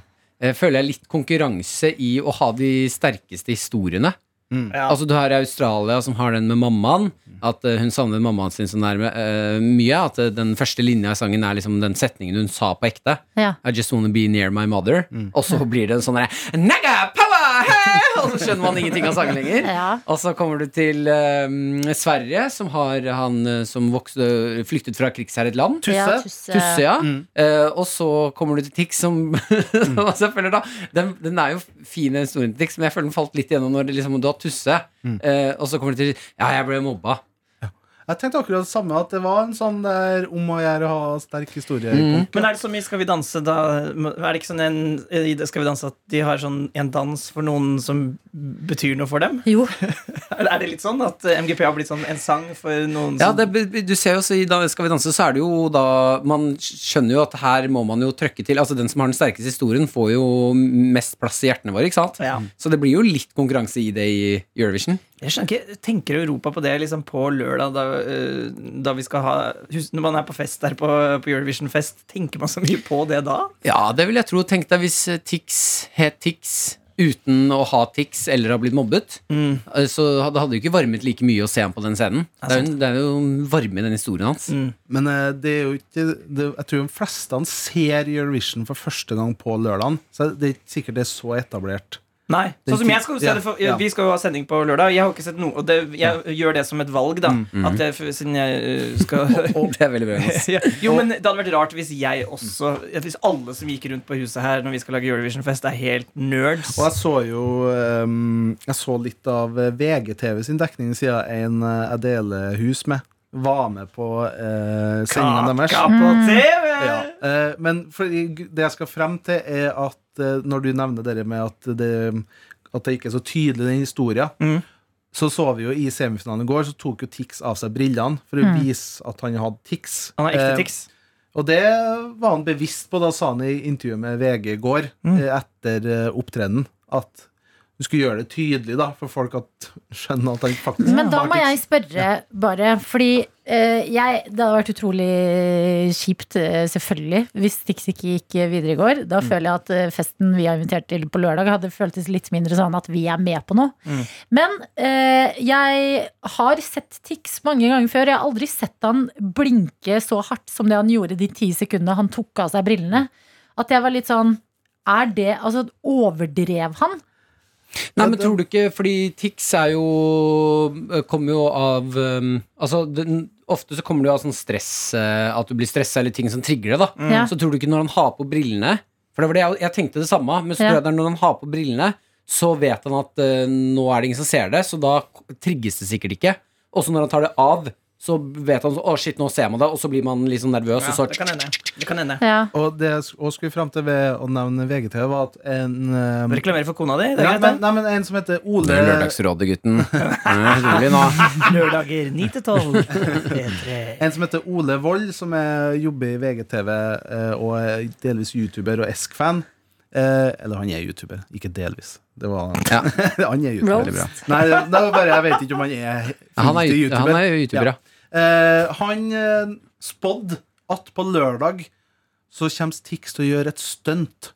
B: eh, Føler jeg litt konkurranse i å ha de sterkeste historiene.
C: Ja.
B: Altså Du har Australia som har den med mammaen. At eh, hun savner mammaen sin så nærme eh, mye. At eh, den første linja i sangen er liksom den setningen hun sa på ekte.
G: Ja.
B: I just wanna be near my mother. Og så blir det en sånn derre Naga power! Hey! Og så skjønner man ingenting av sangen lenger.
G: Ja.
B: Og så kommer du til eh, Sverige, som har han eh, som vokste, flyktet fra krigsherret land.
G: Ja,
B: Tusse, ja. Eh, og så kommer du til Tix, som, som altså, jeg føler da den, den er jo fin, den historien til Tix, men jeg føler den falt litt igjennom når det liksom, du har Tusse. eh, og så kommer du til Ja, jeg ble mobba.
E: Jeg tenkte akkurat det samme, at det var en sånn der om å gjøre å ha sterk historie.
C: Men er det som i Skal vi danse, da Er det ikke sånn en, i det Skal vi danse at de har sånn en dans for noen som betyr noe for dem?
G: Jo.
C: Er er det litt sånn at eh, MGP har blitt sånn en sang for noen
B: Ja,
C: som
B: det, du ser jo også i da Skal vi danse, så er det jo da Man skjønner jo at her må man jo trøkke til. Altså Den som har den sterkeste historien, får jo mest plass i hjertene våre, ikke sant?
C: Ja.
B: Så det blir jo litt konkurranse i det i Eurovision.
C: Jeg skjønner ikke, Tenker Europa på det liksom på lørdag, da, eh, da vi skal ha hus- Når man er på fest der på, på Eurovision-fest, tenker man så mye på det da?
B: Ja, det vil jeg tro. Tenk deg hvis eh, Tix het Tix uten å ha Tix eller ha blitt mobbet. eh, Så hadde hadde det jo ikke varmet like mye å se ham på den scenen. Det er jo, det er jo varme i den historien hans.
E: Men eh, det er jo ikke det, Jeg tror de fleste ser Eurovision for første gang på lørdagen. Så det er ikke sikkert det er så etablert.
C: Nei.
E: Den
C: Sånn som
E: tid-
C: jeg skal jo se
E: ja,
C: det for,
E: ja.
C: Vi skal jo ha sending på lørdag. Jeg har jo ikke sett noe Og det, jeg gjør det som et valg, da.
E: Mm,
C: At jeg, for- siden jeg eh, skal
B: Det er veldig bra. Jonas.
C: ja. Jo, men Det hadde vært rart hvis jeg også Hvis alle som gikk rundt på huset her når vi skal lage Eurovision-fest, er helt nerds.
E: Og jeg så jo ehm, Jeg så litt av eh, VGTV sin dekning siden en eh, jeg deler hus med, var med på uh, sendingen deres. Mm.
C: Kaka på TV!
E: Ja. eh, men for, det jeg skal frem til, er at eh, når du nevner det med at det, at det ikke er så tydelig, den historien
C: Mm.
E: Så så vi jo i semifinalen i går, så tok jo Tix av seg brillene for å vise at han hadde Tix.
C: Mm. Han er ekte
E: Eh,
C: tics.
E: og det var han bevisst på, da sa han i intervjuet med VG i går,
C: Mm.
E: eh, etter eh, opptredenen, at du skulle gjøre det tydelig da, for folk at skjønner at han faktisk
G: Men da
E: har
G: må jeg
E: tics.
G: spørre, bare. Fordi eh, jeg Det hadde vært utrolig kjipt, eh, selvfølgelig, hvis Tix ikke gikk videre i går. Da føler jeg at eh, festen vi har invitert til på lørdag, hadde føltes litt mindre sånn at vi er med på noe. Men eh, jeg har sett Tix mange ganger før. Jeg har aldri sett han blinke så hardt som det han gjorde de ti sekundene han tok av seg brillene. At jeg var litt sånn Er det Altså, overdrev han?
B: Nei, men eh, tror du ikke Fordi Tix er jo Kommer jo av um, eh, Altså, den, ofte så kommer du av sånn stress, eh, at du blir stressa eller ting som trigger det. da
G: Ja.
B: Så tror du ikke når han har på brillene For det var det jeg, jeg tenkte det samme, men så tror
G: Ja.
B: jeg det er når han har på brillene, så vet han at eh, nå er det ingen som ser det, så da k- trigges det sikkert ikke. Og så når han tar det av, så vet han så, å shit, nå ser man det, og så blir man litt sånn nervøs,
C: Ja,
B: og
C: det
B: så
C: kan hende. Det kan hende.
G: Ja.
E: Og det jeg sk- også skulle fram til ved å nevne VGTV, var at en eh,
C: Reklamere for kona di. Det
E: nei,
C: er
E: men,
C: greit,
E: nei, men en som heter Ole
B: Lørdagsrådet, gutten. Ja, rolig nå.
C: da. Lørdager 9 til 12. P3.
E: En som heter Ole Wold, som er, jobber i VGTV eh, og er delvis YouTuber og Esk-fan. Eh, eller han er YouTuber, ikke delvis. Det var
B: Ja.
E: Han er YouTuber.
G: Roast.
E: Bra. Nei, det det var bare jeg vet ikke om han er
B: Han er,
E: fulltid
B: ju- han er jo YouTuber, ja.
E: Eh, han eh, spådde at på lørdag så kommer Tix til å gjøre et stunt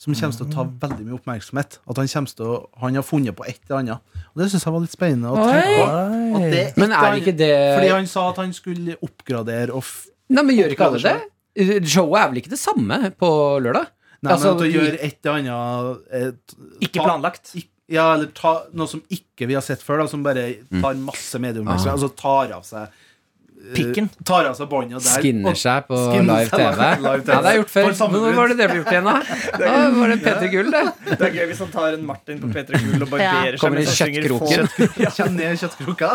E: som kommer til å ta veldig mye oppmerksomhet. At han, kommer til å, han har funnet på et eller annet. Og det syns jeg var litt spennende. Å tenke på. At det
B: Men er ikke det
C: Eh,
E: Fordi han sa at han skulle oppgradere og f
B: Nei, men gjør ikke alle det? Showet er vel ikke det samme på lørdag?
E: Nei,
B: Altså,
E: men at å
B: vi-
E: gjøre et eller annet eh, t-
C: Ikke
E: ta-
C: planlagt.
E: ik- Ja, eller ta noe som ikke vi har sett før, da, som bare
B: Mm.
E: tar masse
B: Ah.
E: medieoppmerksomhet. Altså tar av seg eh,
C: Pikken.
E: Tar av seg båndet der.
B: Skinner
E: og-
B: seg på
E: Skinner
B: live
E: seg
B: TV.
E: live- live TV.
B: Ja, det er gjort før.
E: På samme
B: Men Nå var det det ble gjort igjen, da. Da var det Petter Gull, det.
C: Det er gøy hvis han tar en Martin på P3 Gull og barberer
B: Ja. Kommer i
C: mens han synger
B: kjøttkroken.
C: få.
E: Kjenn ned kjøttkroka.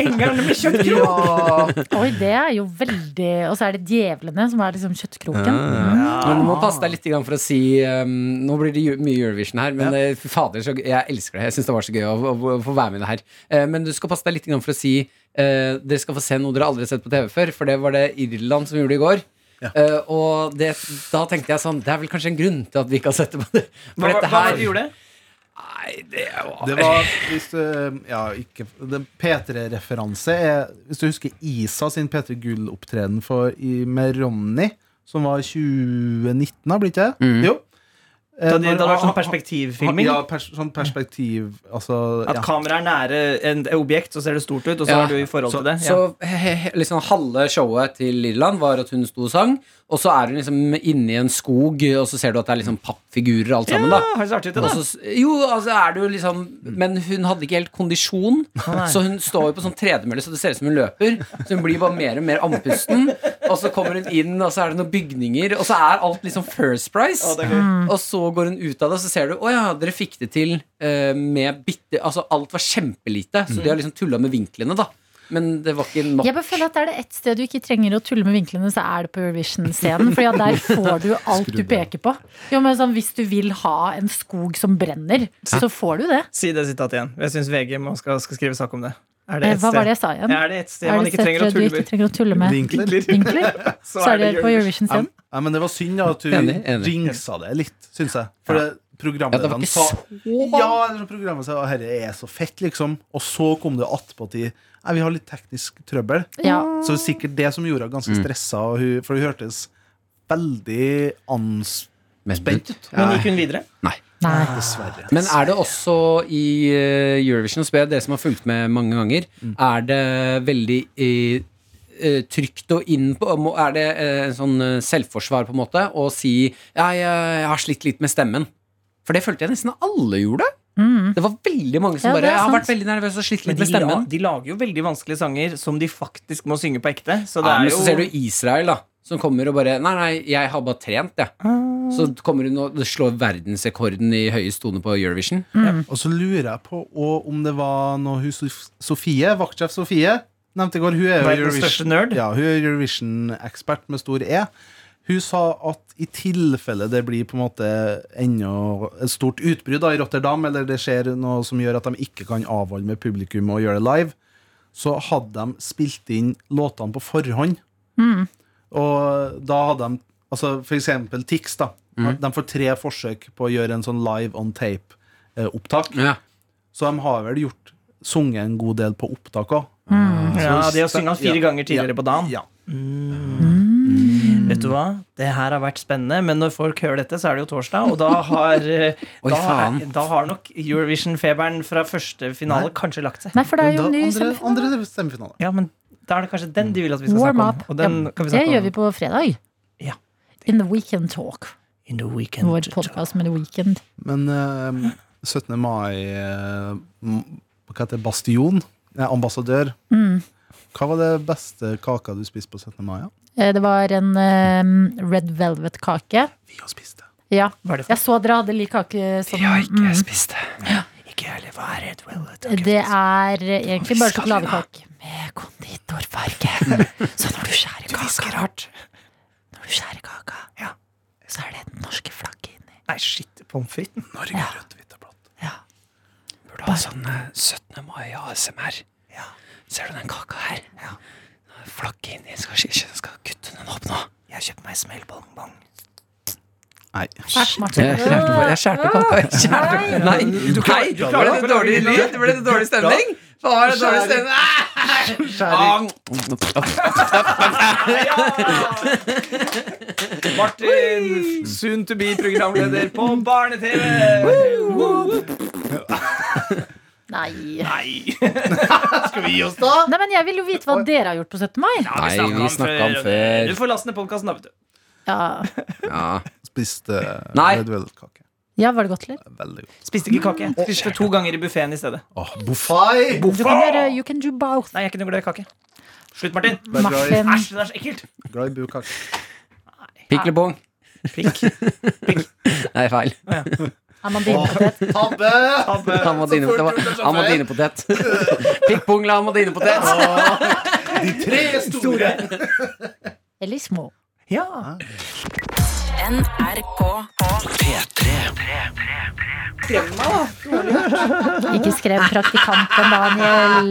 C: Engelen med kjøttkrok!
E: Ja.
G: Oi, det er jo veldig Og så er det djevlene som er liksom kjøttkroken. Mm.
B: Men du må passe deg litt grann for å si um, Nå blir det ju- mye Eurovision her, men eh, fy fader, så, gøy- jeg elsker det. Jeg syns det var så gøy å, å, å få være med i det her. Eh, men du skal passe deg litt grann for å si eh, dere skal få se noe dere aldri har sett på TV før, for det var det Irland som gjorde i går. Eh, og det, da tenkte jeg sånn Det er vel kanskje en grunn til at vi ikke har sett det på det. For
C: Hva hva
B: dette
C: var det
B: her
C: du gjorde?
B: Nei, det var,
E: Det var hvis du, ja, ikke, det- P3-referanse er Hvis du husker Isa sin P3 Gull-opptreden for- i- med Ronny, som var 2019, da, blir ikke det?
B: Mm.
E: Jo. Eh,
C: Da det, da
E: når-
C: det var sånn
E: han-
C: perspektivfilming?
E: Ja, pers, sånn perspektiv Altså
C: At
E: ja.
C: kameraet er nære en- et objekt, så ser det stort ut, og så
B: Ja.
C: er du i forhold til det. Ja.
B: Så he, he, he- liksom halve showet til Lilleland var at hun sto og sang, og så er hun liksom inni en skog, og så ser du at det er liksom pappfigurer og alt sammen, da.
C: Ah, Har du så artig til
B: Og
C: det?
B: så, s- jo, altså er det jo liksom Men hun hadde ikke helt kondisjon, så hun står jo på sånn tredemølle så det ser ut som hun løper. Så hun blir bare mer og mer andpusten. Og så kommer hun inn, og så er det noen bygninger, og så er alt liksom First Price.
C: Å, det er gøy.
G: Mm.
B: Og så går hun ut av det, og så ser du Å ja, dere fikk det til eh, med bitte Altså alt var kjempelite,
G: Mm.
B: så de har liksom tulla med vinklene, da. Men det var ikke nok.
G: Jeg bare føler at Er det ett sted du ikke trenger å tulle med vinklene, så er det på Eurovision-scenen. For der får du alt du peker på. Jo, men sånn, Hvis du vil ha en skog som brenner, så får du det.
C: Si det sitatet igjen. Jeg syns VG må- skal, skal skrive sak om det. Er det
G: Eh,
C: et
G: Hva var det
C: sted,
G: jeg sa igjen?
C: ja, er det et sted
G: Er
C: man
G: det
C: ikke trenger å
G: et sted
C: tulle
G: du ikke
C: med,
G: trenger å tulle med
E: Vinkler.
G: vinkler? Så er det på Eurovision-scenen.
E: Ja, men det var synd da, at du
B: Enig, enig.
E: jinxa det litt, syns jeg. For det
B: Ja, det var
E: programlederen
B: ikke
E: sa
B: så
E: Ja, eller sånn programmet sa at dette er så fett, liksom. Og så kom det attpåtil Nei, vi har litt teknisk trøbbel.
G: Ja.
E: Så det er sikkert det som gjorde henne
B: Mm.
E: ganske stressa, og hun, for hun hørtes veldig anspent
B: Men-
E: ut.
C: Men gikk hun videre?
G: Nei.
E: Dessverre.
B: Men er det også i eh, Eurovision, spør jeg dere som har fulgt med mange ganger,
G: Mm.
B: er det veldig eh, eh, trygt å inn på må- Er det eh, en sånn eh, selvforsvar, på en måte, å si ja, jeg, jeg har slitt litt med stemmen? For det følte jeg nesten alle gjorde.
G: Mm.
B: Det var veldig mange som
G: Ja, det
B: bare
G: er
B: Jeg har
G: sant.
B: vært veldig nervøs og slitt
C: Men
B: litt
C: de,
B: med
C: la,
B: stemmen.
C: de lager jo veldig vanskelige sanger som de faktisk må synge på ekte. Så det
B: Ja,
C: er
B: men
C: jo
B: så ser du Israel, da. Som kommer og bare Nei, nei, jeg har bare trent, jeg.
C: Ah,
B: Så kommer hun og slår verdensrekorden i høyest tone på Eurovision.
E: Og så lurer jeg på og om det var noe hun Sof- Sofie, vaktsjef Sofie, nevnte i går Hun er jo
C: Verdens største
E: Eurovision-
C: nerd.
E: Ja, hun er Eurovision-ekspert med stor E. Hun sa at i tilfelle det blir på en måte enda et stort utbrudd da, i Rotterdam, eller det skjer noe som gjør at de ikke kan avholde med publikum og gjøre det live, så hadde de spilt inn låtene på forhånd. Og da hadde de altså For eksempel Tix. da
C: Mm.
E: De får tre forsøk på å gjøre en sånn live on eh, tape-opptak.
B: Ja.
E: Så de har vel gjort sunget en god del på opptak Eh, òg.
G: Mm.
C: ja, de har sunget han fire
E: Ja.
C: ganger tidligere på dagen.
E: Ja.
C: Vet du hva? Det her har vært spennende, men når folk hører dette, så er det jo torsdag, og da har, eh,
B: Oi,
C: da, er-
B: faen.
C: da har nok Eurovision-feberen fra første finale kanskje lagt seg.
G: Nei, for det er jo
E: Og
G: en
E: da
G: ny
E: andre,
G: semifinale.
E: andre semifinale.
C: Ja, men da er det kanskje den de vil at vi skal
G: Warm
C: snakke om.
G: up.
C: Og
G: Ja,
C: den kan vi
G: det
C: snakke
G: gjør
C: om
G: vi på fredag.
C: Ja.
G: In the Weekend Talk.
C: in the weekend.
G: Vår podkast med The Weekend.
E: Men eh, 17.
G: Mm.
E: mai eh, m- Hva heter det? Bastion? Eh, ambassadør. Hva var det beste kaka du spiste på 17. mai? Ja?
G: Eh, Det var en eh, red velvet-kake.
E: Vi har spist det.
G: Ja.
C: Hva er det for
G: Jeg så dere hadde lik kake som mm,
B: spist det.
C: Ikke heller, hva er det? Well,
G: Det er egentlig bare sånn sjokoladekake.
C: Med konditorfarge. så når du skjærer kaka rart.
G: Når du skjærer kaka,
C: Ja.
G: så er det det norske flagget inni.
C: Nei, shit, pommes frites.
E: Norge er rødt, hvitt og blått.
B: Burde ha sånn eh, 17. mai ASMR. Ser du den kaka her? Ja. Flagget inni. Skal, skal, skal kutte den opp nå.
C: Jeg kjøpte meg smellbongbong.
E: Nei.
G: Æsj, Martin.
B: Jeg skjærte på. Jeg skjærte på. Jeg skjærte på. Nei, du klarer, du klarer, ble det dårlig lyd? Ble det dårlig stemning? Var det dårlig stemning?
C: Martin, soon to be programleder på Barne-TV!
G: Nei.
E: Skal vi gi oss, da?
G: Nei, men jeg vil jo vite hva dere har gjort på 17. mai.
B: Nei, vi snakket om før.
C: Du får laste ned podkasten, da, vet du.
G: Ja,
B: Ja.
E: Spiste eh,
B: Nei.
E: red velvet-kake.
G: ja var det godt, eller?
E: Veldig godt.
C: Spiste ikke kake.
B: Mm.
C: Spiste to ganger i buffeen i stedet.
E: Åh, Bofai!
G: Du kan gjøre You can do both.
C: Nei, jeg er ikke noe glad i kake. Slutt, Martin.
E: Bare glad i-
G: Muffin.
C: Æsj, det er så ekkelt.
E: Glad i bukake.
B: Piklebong.
C: Prikk.
B: Nei, feil.
G: Amandinepotet.
E: Tabbe!
C: Tabbe.
B: Amadinepotet.
E: Så fort gjort, det
B: var-
E: er så
B: Amadinepotet. Pikkbongla amadinepotet.
E: De tre store!
G: Eller små.
C: Ja.
G: Ikke skrev praktikanten Daniel.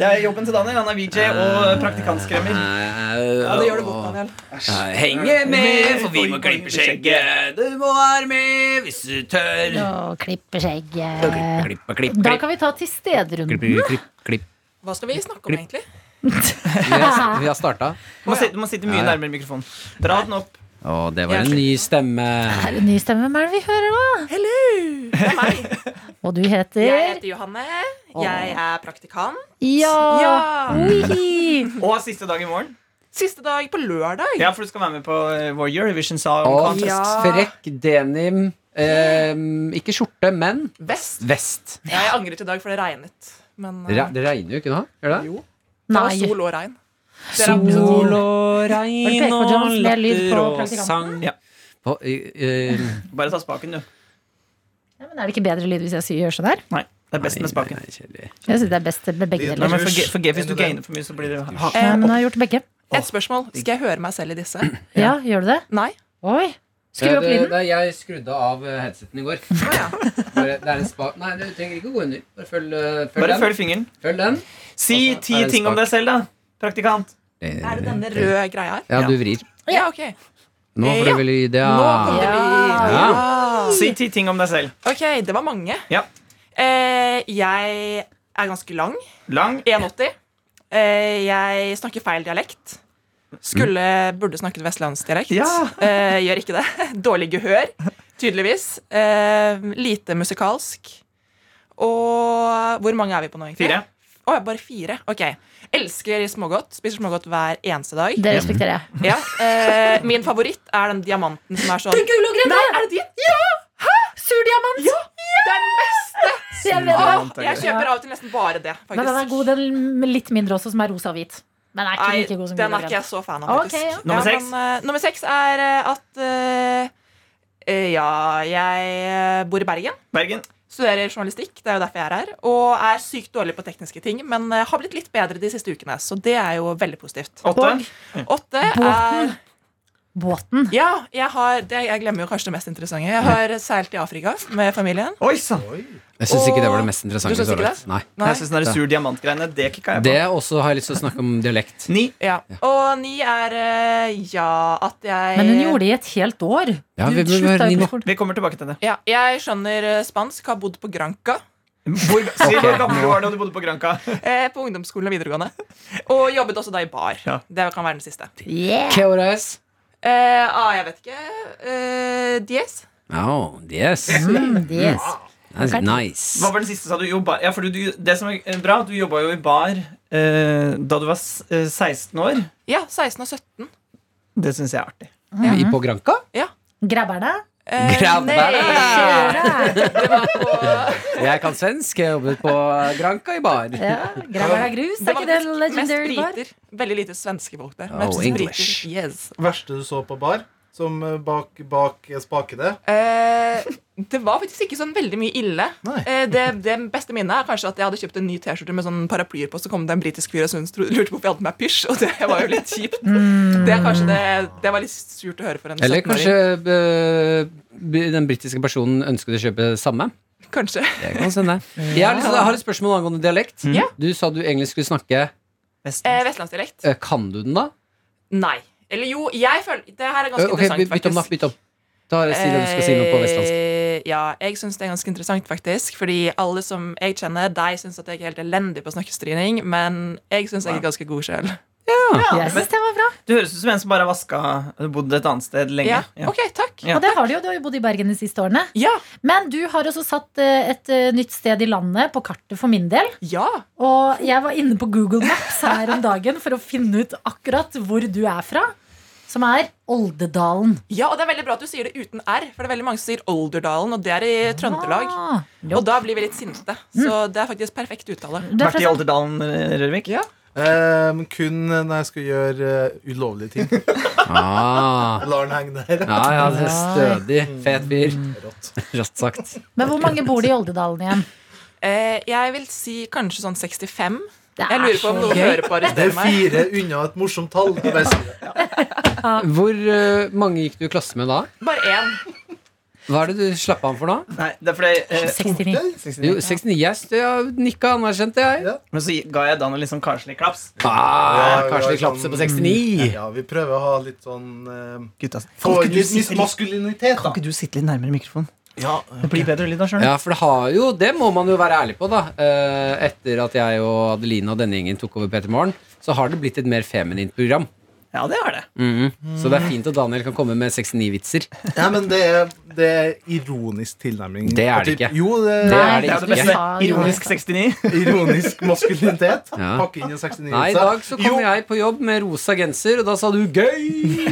C: Det er jobben til Daniel. Han er VJ og praktikantskremmer. Ja, det gjør det godt, Daniel.
B: Nei, Henge med, for vi må klippe skjegget. Du må være med hvis du tør.
G: Å, klipper
B: Klippe,
G: skjegget.
B: klippe, klippe.
G: Eh, Da kan vi ta til stedrunden.
B: Klippe, klippe, klippe.
D: Hva skal vi snakke om, egentlig?
B: Vi har, vi har starta.
C: Du må sitte, du må sitte mye
B: Ja, ja.
C: nærmere mikrofonen. Dra den opp.
B: Å, det var en ny stemme.
G: Er det en ny stemme? Hvem er det vi hører nå?
H: Hello! Det er meg.
G: Og du
H: Jeg
G: heter
H: heter Johanne. Jeg er praktikant.
G: Ja!
H: Ja!
G: Ui.
C: Og siste dag i morgen.
H: Siste dag på lørdag.
C: Ja, for du skal være med på eh, vår Eurovision Song
B: Og
C: Contest.
H: Ja.
B: frekk denim. Eh, ikke skjorte, men
H: Vest.
B: vest.
H: Ja, jeg angret i dag, for det regnet. Men eh,
B: Det re- det regner jo ikke nå? Gjør det?
H: jo. Det var
G: Nei.
H: sol og regn. Dere er
G: Sol.
H: positive.
B: og
G: Var det
B: regn
G: Peter Jones med lyd på praktikanten?
C: Ja.
B: På, eh, eh,
C: Bare ta spaken, du.
G: Ja, men er det ikke bedre lyd hvis jeg sier gjør sånn her?
C: Nei, det er best med spaken.
B: Nei, nei, kjedelig.
G: Jeg synes det er best med begge
C: Nei,
G: deler.
C: men forge- forgev hvis du gainer for mye, så blir det ha.
G: Ja, men jeg har gjort begge.
H: Et spørsmål. Skal jeg høre meg selv i disse?
G: Ja, gjør du det?
H: Nei?
G: Oi. Skru
B: Ja,
G: opp
B: det-
G: lyden.
B: det- Jeg skrudde av eh, headseten i går.
H: Å ja.
B: Bare, det er en spa... Nei, du trenger ikke å gå under. Bare følg, eh, følg
C: Bare
B: den.
C: følg fingeren.
B: Følg den.
C: Si
B: Altså,
C: ti
B: er det
C: ting om
B: spak?
C: deg selv, da. Praktikant.
H: Er det denne røde greia her?
B: Ja, du vrir.
H: Ja, ok.
B: Nå får
H: Ja.
B: du vel lyd, ja.
H: Nå kommer det lyd.
B: Ja.
H: Ja.
C: Si ti ting om deg selv.
H: Ah. Ok, det var mange.
C: Ah. Ja.
H: Eh, jeg er ganske lang.
C: Lang.
H: 1,80. Eh, jeg snakker feil dialekt. Skulle, Burde snakket vestlandsdialekt.
C: Mm. Ja.
H: Eh, gjør ikke det. Dårlig gehør, tydeligvis. Eh, lite musikalsk. Og hvor mange er vi på nå, egentlig?
C: Fire.
H: Å, ja, bare fire. Ok. Elsker smågodt. Spiser smågodt hver eneste dag.
G: Det respekterer jeg.
H: Ja. Eh, min favoritt er den diamanten som er sånn
G: gule og
H: Nei, er det din?
G: Surdiamant! Ja!
H: Det er den beste!
G: Jeg vet det.
C: Surdiamant,
H: Jeg kjøper av og til nesten bare det,
G: Men den er
H: faktisk.
G: god, den med litt mindre også, som er rosa og hvit. Men den er ikke
H: Nei,
G: like god som gul
H: den er
G: og
H: ikke
G: grønn.
H: jeg så fan av,
G: Ok,
H: faktisk.
G: ja.
C: Nummer seks?
H: men, eh, nummer seks er eh, at eh, eh, Ja, jeg eh, bor i Bergen.
C: Bergen.
H: Studerer journalistikk, det er jo derfor jeg er her. Og er sykt dårlig på tekniske ting, men eh, har blitt litt bedre de siste ukene. Så det er jo veldig positivt.
C: Åtte.
H: Åtte er
G: Båten. Båten.
H: Ja, jeg har det, Jeg glemmer jo kanskje det mest interessante. Jeg har seilt i Afrika med familien.
C: Oi sann!
B: Jeg syns ikke det var det
H: Og-
B: mest interessante.
H: Du syns
B: så
H: ikke
B: langt. Nei.
H: Nei.
C: Jeg syns den der sur diamant-greiene, det kicka jeg
B: Det også har jeg lyst til å snakke om dialekt.
C: på. Ni.
H: Ja. Og ni er eh, ja, at jeg
G: Men hun gjorde det i et helt år.
B: Ja, vi,
G: Hun
B: vi,
G: slutta jo
B: vi,
G: på skolen.
C: Vi kommer tilbake til det.
H: ja, Jeg skjønner eh, spansk, har bodd på Granca.
C: Hvor, si hvor gammel du var da du bodde på Granca.
H: Eh, på ungdomsskolen og videregående. Og jobbet også da i bar.
C: Ja.
H: Det kan være den siste.
G: Yeah.
B: Que hora es?
H: Eh, ah, jeg vet ikke. Eh, Diez?
B: Oh, yes.
G: Mm, yes.
B: That's
G: Ok.
B: nice.
C: Hva var den siste sa du? Jo, bar. Ja, fordi du, det som er eh, bra, du jobba jo i bar eh, da du var s- eh, 16 år.
H: Ja, 16 og 17.
C: Det syns jeg er artig.
H: Mm.
B: I på Granca?
G: Grabberne.
H: Eh,
B: Grav deg.
H: nei. Det var på
B: Jeg kan svensk, jeg jobbet på Granka i bar.
G: Ja, Graver deg grus, er ikke det en
H: faktisk
G: legendary
H: mest
G: bar?
H: briter. Veldig lite svenske folk der.
B: Oh,
H: Mest
B: English.
H: briter. Yes.
E: Verste du så på bar? Som eh, bak, bak spakene?
H: Eh, det var faktisk ikke sånn veldig mye ille.
E: Nei.
H: Eh, det, det beste minnet er kanskje at jeg hadde kjøpt en ny T-skjorte med sånn paraplyer på, så kom det en britisk fyr og syntes- tro- lurte på hvorfor jeg hadde på meg pysj. Og det var jo litt kjipt. Det, er kanskje det, det var litt surt å høre for en
B: Mm. Eller
H: 17-åring.
B: kanskje eh, den britiske personen ønsket å kjøpe det samme.
H: Kanskje.
B: Det kan sende. Jeg har, lyst til- jeg har et spørsmål angående dialekt.
H: Ja.
B: Du sa du egentlig skulle snakke
H: Eh, Vestlandsdialekt.
B: eh, Kan du den, da?
H: Nei. Eller jo, jeg føler Det her er ganske
B: Eh, Ok, by-
H: interessant,
B: Bytt om, da.
H: faktisk.
B: Bytt om. Da har jeg si det du skal si noe på vestlandsk.
H: Eh, Ja, jeg syns det er ganske interessant, faktisk. Fordi alle som jeg kjenner, de syns at jeg er helt elendig på snakkestryning, men jeg syns jeg er ganske god sjøl.
G: Jeg synes det var bra.
C: Du høres ut som en som bare har vaska bodd et annet sted lenge.
H: Ja.
C: Ja.
H: OK, takk.
C: Ja.
G: Og det har du jo, du har jo bodd i Bergen de siste årene.
H: Ja.
G: Men du har også satt eh, et eh, nytt sted i landet på kartet for min del.
H: ja.
G: Og jeg var inne på Google Maps her om dagen for å finne ut akkurat hvor du er fra. Som er Oldedalen.
H: Ja, og det er veldig bra at du sier det uten R, for det er veldig mange som sier Olderdalen, og det er i Trøndelag.
G: Ah,
H: Og da blir vi litt sinte.
B: Mm.
H: Så det er faktisk perfekt uttale.
G: du er
C: Vært
G: fra
C: i
G: sånn,
C: Olderdalen, Rørvik?
H: Ja.
E: Eh, men kun når jeg skal gjøre eh, ulovlige ting.
B: Ah,
E: Jeg lar den henge der.
B: ja, ja, Mm. det er stødig. Fet fyr.
E: Rått.
B: Rått sagt.
G: men hvor mange bor det i Oldedalen igjen?
H: Eh, jeg vil si kanskje sånn 65.
G: Det
B: Ah,
H: Jeg lurer på om noen hører på og
E: Det er
H: arresterer meg.
E: fire unna et morsomt tall. Jeg bare sier det.
B: Hvor eh, mange gikk du i klasse med da?
H: Bare én.
B: Hva er det du slapp av for nå?
C: Nei, det er fordi eh,
G: 69.
B: Jo, 69. Jeg stø- jeg nikka anerkjente, jeg.
E: Ja.
C: Men så ga jeg Dan en litt sånn karslig klaps.
B: Ah,
E: Ja,
B: kanskje
E: ja,
B: vi klapser
E: sånn-
B: på 69.
E: Ja, vi prøver å ha litt sånn eh,
C: Gutta, kan,
E: Få inn
C: ikke du
E: litt
C: sitte litt,
E: maskulinitet,
C: kan
E: da.
C: ikke du sitte litt nærmere mikrofonen?
E: Ja,
C: Det blir bedre lyd av sjøl.
B: Ja, for det har jo Det må man jo være ærlig på, da. Eh, etter at jeg og Adeline og denne gjengen tok over P3 Morgen, så har det blitt et mer feminint program.
C: Ja, det har det.
B: Mhm. Så det er fint at Daniel kan komme med 69-vitser.
E: Nei, men det er, det er ironisk tilnærming.
B: Det er det
E: Typ-
B: ikke.
E: Jo, det er
B: Det
G: Nei,
B: er
C: Det
B: det
C: er jo det
B: ikke.
C: beste.
G: Ja,
C: Ironisk 69.
E: ironisk maskulinitet.
B: Ja.
E: Pakke inn i 69
B: Nei, i dag så kom jeg på jobb med rosa genser, og da sa du 'gøy'!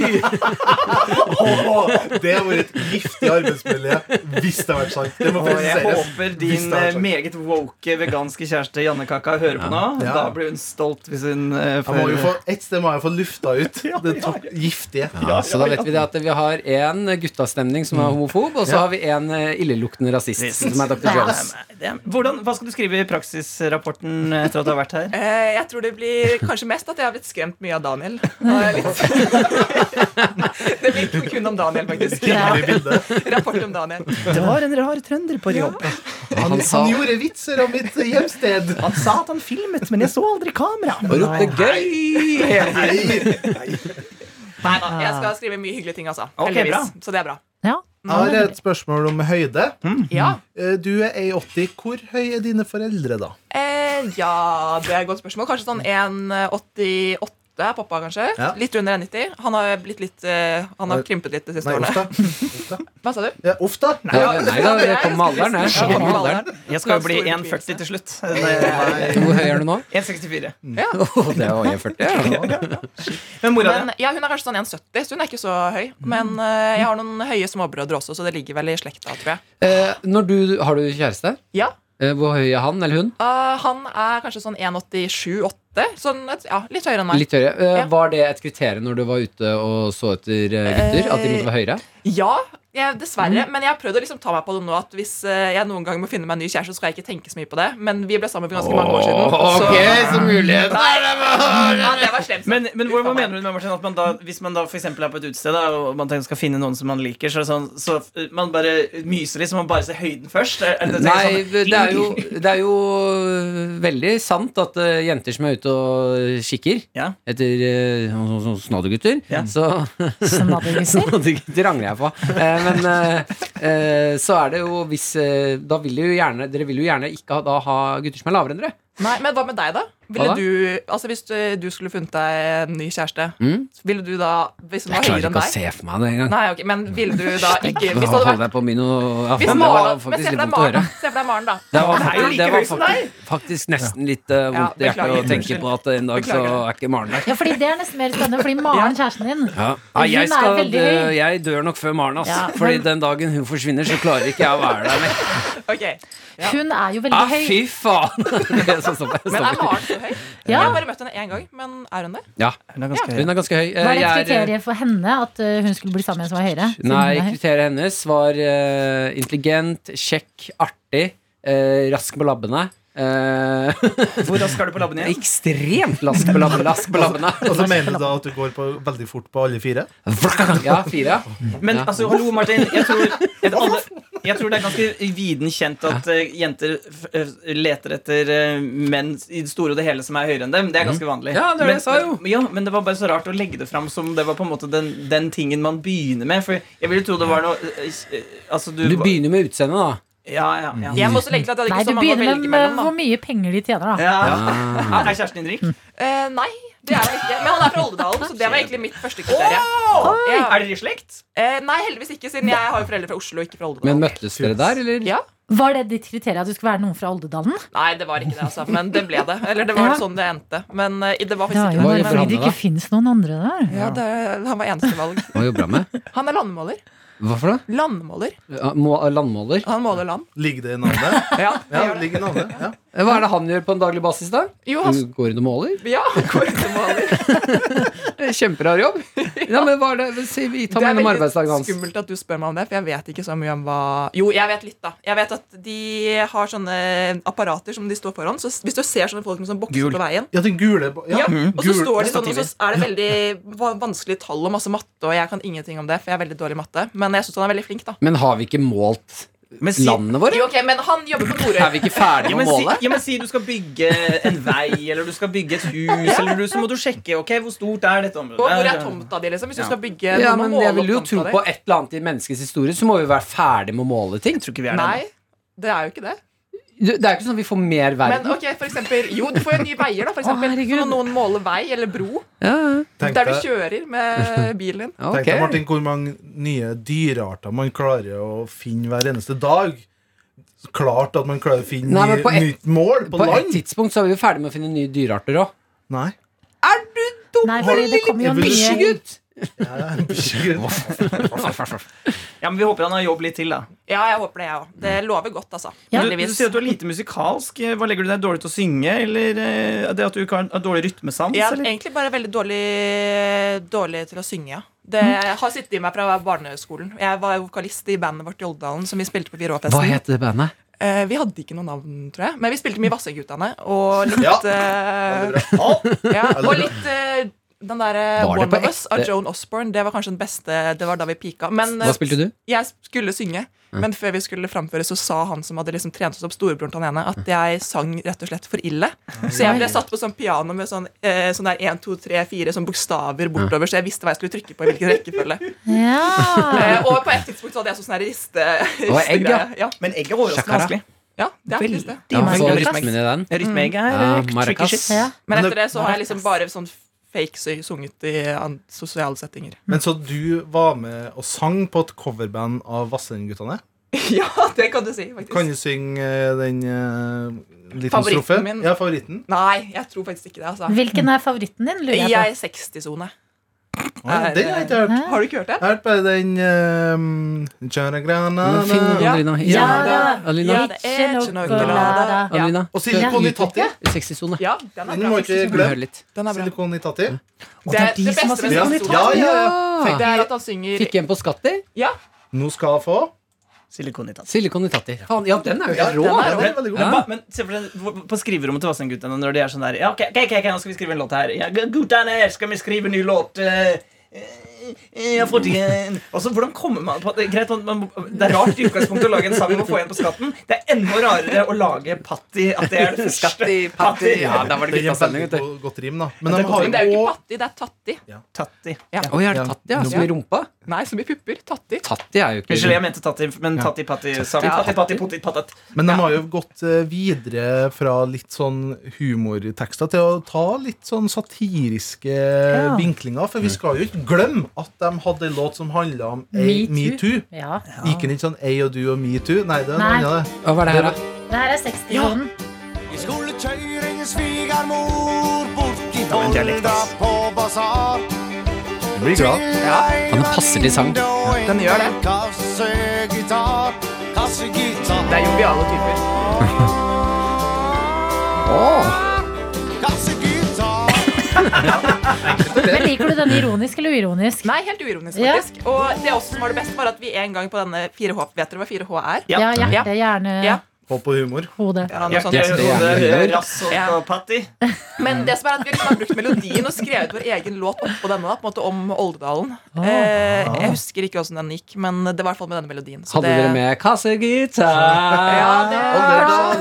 E: det har vært et giftig arbeidsmiljø hvis det har vært sant. Det må
C: Og jeg
E: presiseres.
C: håper
E: Hvis
C: din
E: det har
C: eh,
E: sagt.
C: meget woke veganske kjæreste Janne Kaka hører på nå.
E: Ja.
C: Da blir hun stolt hvis hun eh,
E: Jeg må
C: får
E: jo få, et sted må jeg få lufta ut det to- giftige.
B: Ja, så da vet vi det at vi har én guttastemning som er homofob, og så har vi én illeluktende rasist, som er Dr. Jones.
C: Nei, det er- Hvordan, hva skal du skrive i praksisrapporten etter at du har vært her?
H: Eh, jeg tror det blir kanskje mest at jeg har blitt skremt mye av Daniel. Og jeg er litt... det blir kun om Daniel, faktisk.
G: Ja.
E: Det bildet.
H: Rapport om Daniel.
C: Det var en rar trønder på jobb.
E: Han,
B: Han sa
E: han gjorde vitser om mitt hjemsted.
C: Han sa at han filmet, men jeg så aldri kamera.
B: og ropte 'gøy'!
E: Nei.
H: Nei da, jeg skal skrive mye hyggelige ting, altså.
C: Ok,
H: Heldigvis.
C: bra.
H: Så det er bra.
G: Ja.
E: Jeg har et spørsmål om høyde.
H: Ja.
E: Eh, Du er 1,80. Hvor høy er dine foreldre, da?
H: Eh, ja, det er et godt spørsmål. Kanskje sånn 1,88 er pappa, kanskje.
E: Ja.
H: Litt under 1,90. Han har blitt litt eh, Han har krympet litt de siste
E: Nei,
H: årene.
E: ofte. Ofte.
H: Hva sa du?
E: Ja, ofte.
B: Nei, nei da, det kom med alderen. Det
H: Ja,
B: kom med alderen.
H: alderen.
C: Jeg skal jo bli 1,40 til slutt. Det-
B: Hvor høy er du nå?
C: 1,64.
B: Åh, det var 1,40. Ja.
C: Men mora di?
H: Men, ja, hun er kanskje sånn 1,70, så hun er ikke så høy. Men
B: Mm.
H: eh, jeg har noen høye småbrødre også, så det ligger vel i slekta, tror jeg.
B: Eh, når du, har du kjæreste?
H: Ja,
B: Eh, hvor høy er han eller hun?
H: eh, Han er kanskje sånn 1,87-8. Sånn, et- ja, litt høyere enn meg.
B: Litt høyere. Eh,
H: Ja.
B: Var det et kriterium når du var ute og så etter eh, gutter? At de måtte være høyere?
H: Ja, jeg, dessverre.
B: Mm.
H: Men jeg har prøvd å liksom ta meg på det nå at hvis eh, jeg noen gang må finne meg en ny kjæreste, så skal jeg ikke tenke så mye på det. Men vi ble sammen for ganske mange år siden.
B: Eh, så mulighet
H: Så, ja, det var slemt.
C: Men, men hva, hva mener du med Martin, at man da, hvis man da for eksempel er på et utested da, og man tenker skal finne noen som man liker, så, er det sånn, så eh, man bare myser litt, så man bare ser høyden først? Er, er det, det
B: Nei,
C: sånn-
B: det er, jo, det er jo veldig sant at eh, jenter som er ute og kikker
C: Ja.
B: etter eh, sånn- sånn snaddergutter,
C: Ja.
B: så
G: Snaddergutter.
B: Snaddergutter angrer jeg på. Eh, Men eh, eh, så er det jo hvis eh, Da vil jo gjerne Dere vil jo gjerne ikke ha, da ha gutter som er lavere enn dere.
H: Nei, men hva med deg, da?
B: Hva da?
H: Ville du, altså Hvis du, du skulle funnet deg en ny kjæreste,
B: Mm?
H: ville du da Hvis hun
B: Jeg
H: var
B: klarer
H: høyere enn
B: ikke å
H: deg
B: se for meg det engang.
H: Nei, ok, men ville du da ikke Hvis det hadde
B: Holder
H: vært
B: jeg på min og ja,
H: hvis
B: faen, Det var
H: Maren, men
B: faktisk
H: se
B: litt
H: for
B: vondt å høre.
H: deg Maren, da. Se for deg Maren, da.
B: Det var,
C: Det er
B: faktisk,
C: jo like
B: det var
C: høy som deg!
B: faktisk, faktisk nesten litt eh,
H: Ja,
B: vondt i hjertet å
H: beklager.
B: tenke på at en dag så
H: Beklager.
B: er ikke Maren der.
G: Ja, fordi det er nesten mer spennende, fordi Maren, kjæresten din
B: Ja. Nei, jeg,
G: Hun er
B: skal,
G: veldig
B: dø,
G: høy.
B: jeg dør nok før Maren, ass.
G: Ja,
B: Fordi
G: men-
B: den dagen hun forsvinner, så klarer ikke jeg å være der mer.
H: Ok. Ja.
G: Hun er jo veldig
B: Ah,
G: høy.
B: fy faen! Det er sånn som jeg
H: Men er
B: stopper.
H: Maren så høy?
G: Ja.
H: Jeg har bare møtt henne én gang, men er hun det?
B: Ja,
C: Hun er ganske
B: hun er ganske høy. Eh,
G: Hva er et
B: jeg er-
G: kriterium for henne at eh, hun skulle bli sammen med en som var høyere? Siden
B: Nei,
G: hun er høy.
B: kriteriet hennes var eh, intelligent, kjekk, artig, eh, rask på labbene. eh,
C: Hvor raskt skal du på labben igjen?
B: ekstremt rask på labbene. Rask på labbene.
E: Og så mener du da at du går på, veldig fort på alle fire?
B: Ja, fire. ja.
C: Men
B: Ja.
C: altså, hallo, Martin. Jeg tror, at alle, jeg tror det er ganske viden kjent at eh, jenter f- eh, leter etter eh, menn i det store og det hele som er høyere enn dem. Det er ganske vanlig.
B: Mm. Ja, det er det
C: men,
B: jeg sa jo.
C: Men, ja, men det var bare så rart å legge det fram som det var på en måte den, den tingen man begynner med. For jeg ville tro det var noe eh, eh, Altså, du,
B: Du Mm. begynner med utseendet, da.
C: Ja, ja, ja.
H: Jeg må også legge til at jeg hadde
G: Nei, du
H: ikke så mange å
G: begynner
H: velge
G: med,
H: mellom. Da.
G: hvor mye penger de tjener, da.
C: ja.
B: Ah.
C: Er kjæresten din rik?
H: Eh, nei, det er hun ikke. Men han er fra Oldedalen, så det var egentlig mitt første kriterium. Ja.
C: Er dere i slekt?
H: Eh, nei, heldigvis ikke, siden jeg har jo foreldre fra Oslo, ikke fra Oldedalen.
B: Men møttes dere der, eller?
H: Ja.
G: Var det ditt kriterium at du skulle være noen fra Oldedalen?
H: Nei, det var ikke det, altså. Men det ble det. Eller det var
G: Ja.
H: sånn det endte. Men eh, det var
G: Det
H: faktisk
G: var
B: Hva gjør
G: jo
H: ikke det.
G: fordi
H: Men,
B: forhandlet,
G: det
B: da?
G: ikke fins noen andre der.
H: ja, det, han var eneste valg.
B: Hva jobber han med?
H: Han er landmåler.
B: Hva for det?
H: Landmåler.
B: Ja, må- eh, Landmåler?
H: Han måler land.
E: Ligger det i navnet?
H: Ja,
E: Ja, det ligger i navnet. Ja.
B: Hva er det han gjør på en daglig basis, da?
H: jo, han,
B: Du går inn og måler?
H: ja, han går ut og måler.
B: Kjemperar jobb. Ja, men hva er det Si, Vi tar
H: Det er
B: mellom
H: veldig
B: arbeidsdagen hans.
H: skummelt at du spør meg om det, for jeg vet ikke så mye om hva Jo, jeg vet litt, da. Jeg vet at de har sånne apparater som de står foran. Så hvis du ser sånne folk med sånn bokser
C: Gul.
H: på veien
E: ja, den gule ba-
H: ja,
E: ja.
H: Og så
C: gul.
H: står de
C: Det er
H: sånn, og så er det veldig va- vanskelige tall og masse matte, og jeg kan ingenting om det, for jeg er veldig dårlig i matte. Men jeg syns han er veldig flink, da.
B: Men har vi ikke målt
C: Men si-
B: landet vårt?
H: Jo, ok, Men han jobber på Norøy.
B: Er vi ikke ferdige
C: Ja
B: med
C: men,
B: å
C: si,
B: måle?
C: ja, men si du skal bygge en vei, eller du skal bygge et hus, eller du, så må du sjekke ok, hvor stort er dette området.
H: Og hvor er tomta di, liksom? Hvis
C: Ja.
H: du skal bygge
B: Ja,
H: noe,
B: men
H: må
B: jeg
H: måle
B: vil jo
H: opp
B: tro
H: tomta
B: på
H: di.
B: et eller annet i menneskets historie, så må vi være ferdig med å måle ting.
C: Jeg tror ikke vi er der.
H: Nei, det er jo ikke det.
B: Det er jo ikke sånn at vi får mer
H: Men
B: verden.
H: ok, for eksempel Jo, du får jo nye veier, da, for eksempel.
B: herregud.
H: Så må noen måle vei eller bro.
B: Ja,
E: Tenk
H: Der du
E: deg-
H: kjører med bilen din.
B: ja,
E: Tenk
B: ok.
E: deg, Martin, hvor mange nye dyrearter man klarer å finne hver eneste dag. Klart at man klarer å finne
B: Nei, men
E: ny-
B: på et-
E: nytt mål på,
B: På et
E: land.
B: tidspunkt så er vi jo ferdig med å finne nye dyrearter òg.
E: Nei.
G: Nei, fordi det kommer jo
E: Evolusjon.
G: nye
B: Bikkjegutt!
C: Ja, men Vi håper han har jobb litt til, da.
H: Ja, jeg håper det, jeg òg. Det
B: Mm.
H: lover godt, altså.
G: Ja.
C: Du, du
H: Heldigvis.
C: sier at du er lite musikalsk. Hva legger du i det? Dårlig til å synge? Eller eh, det at du ikke har har dårlig rytmesans?
H: Jeg er
C: eller?
H: egentlig bare veldig dårlig, dårlig til å synge. ja. Det har sittet i meg fra barneskolen. Jeg var vokalist i bandet vårt i Oldedalen. Som Vi spilte på
B: Hva
H: Pirotfesten
B: heter det bandet?
H: eh, Vi hadde ikke noe navn, tror jeg. Men vi spilte mye Vassendgutane. Og litt,
E: Ja.
H: eh,
E: Ah!
H: ja, og litt eh, den der eh,
B: Var det
H: One
B: på
H: of Us av
B: ekte?
H: Joan Osborne. Det var kanskje den beste. Det var da vi pika. Men eh,
B: Hva spilte du?
H: jeg skulle synge, men før vi skulle framføre, så sa han som hadde liksom trent oss opp, storebroren til han ene, at jeg sang rett og slett for ille. Så jeg ble satt på sånn piano med sånn, eh, sånn der 1, 2, 3, 4 sånn bokstaver bortover, så jeg visste hva jeg skulle trykke på i hvilken rekkefølge.
G: Ja.
H: Eh, og på et tidspunkt så hadde jeg sånn sånn her riste...
B: var egg, ja.
H: ristegreie. ja.
C: Men egg er overraskende
B: Shakara.
C: vanskelig.
H: Ja, det er
C: Veldig.
H: faktisk det.
B: Ja,
G: Maracas.
B: så rytmen i den.
C: Rytmeegg er
B: Ja,
C: eh, tricky
B: maracas.
C: shit.
G: ja.
H: Men
E: Men
H: etter det så har jeg liksom bare sånn fake sy- sunget i an- sosiale settinger.
E: Men så du var med og sang på et coverband av Vassendguttene?
H: ja, det kan du si,
E: Kan
H: faktisk.
E: du synge eh, den eh, liten
H: Favoritten
E: strofe?
H: min.
E: Ja, favoritten.
H: Nei, jeg tror faktisk ikke det, altså.
G: Hvilken er favoritten din, lurer jeg
H: Jeg
G: på.
H: er 60-sone.
E: Ah,
H: Er
E: den har jeg ikke hørt.
H: Eh, Har du ikke hørt det?
E: Jeg har hørt bare den eh, Jara Grana
B: Men Finn og
H: Ja.
B: Adelina.
G: Ja,
B: Ja, Adelina.
H: Ja, det er ikke noe glada.
G: Ja.
B: Adelina.
E: Og Silikon i Tatti.
B: Sexysone.
H: Ja, den er
E: Den
H: bra.
E: må ikke
B: Hør
E: glemme.
B: litt.
H: Den er bra.
E: Silikon i Tatti.
H: Det er det beste med
E: Ja,
H: Silikon i
E: ja, ja.
B: Ja.
H: Det er at han synger
B: Fikk en på Skatti.
H: Ja,
E: Nå skal jeg få.
C: Silikonitas.
B: Silikon i Tatti. Faen, ja, den er jo helt rå!
E: Ja,
H: den
E: den
H: er
E: er veldig god.
B: Ja.
C: Men, hva- men se for deg hvor- på skriverommet til Vassendguttene når de er sånn der Ja, ok, ok, ok, nå skal vi skrive en låt her. Ja, gu- guttene, skal vi skrive en ny låt? Eh, eh, jeg har fått igjen. Og så hvordan kommer man på det? Greit, man, man, det er rart i utgangspunktet å lage en sang om å få igjen på skatten. Det er enda rarere å lage patty. At det er det første.
H: Patti, patti.
B: Ja, da var det
E: gir
B: gutta stemning, vet
E: veldig
B: du.
E: go- godt rim, da. Men
C: Ja, det
E: de
C: er
E: har
C: godt
H: Men det er jo
E: jo
H: ikke
E: også-
H: patti, det er tatti.
C: Tatti.
B: Å, jeg er det
E: Ja.
B: Tatti, ja. Som i rumpa?
H: Nei, som i pupper. Tatti.
B: Tatti er jo ikke
C: Unnskyld, jeg mente tatti, men tatti patti sang. Tatti patti potti patat.
E: Men de har jo gått eh, videre fra litt sånn humortekster til å ta litt sånn satiriske vinklinger. For vi skal jo ikke glemme at de hadde en låt som handla om ei- metoo.
G: Ja.
E: Gikk den ikke sånn ei og du og metoo? Nei, det er noe
G: Nei.
E: annet. det.
B: Hva var det her, da?
G: Det her er 60-kronen.
A: Vi skulle tøyre en svigermor borti
C: var en dialekt,
A: Volda
C: ass.
A: på basar.
E: Du blir glad.
B: men passer til sang.
H: den gjør det.
A: Kassegitar, kassegitar,
H: Det er joviale typer.
A: kassegitar.
G: Men liker du den ironisk eller uironisk?
H: Nei, helt uironisk,
G: Ja.
H: faktisk. Og det også som var det beste, var at vi en gang på denne 4H Vet dere hva 4H er?
G: Ja,
H: Ja.
G: hjerte, hjerne,
H: Ja.
E: Håp og humor.
G: hode.
H: Ja, noe
C: Ja,
H: sånt.
B: det er-
C: Sånn, Rass
H: Ja.
C: og patti.
H: Men det som er at vi liksom har brukt melodien og skrevet vår egen låt oppå denne, da, på en måte om Oldedalen.
G: Ah.
H: Eh, jeg husker ikke åssen den gikk, men det var i hvert fall med denne melodien. så
B: Hadde
H: det-
B: dere med kassegitar?
H: Ja, det, ja.
E: Ja.
H: ja,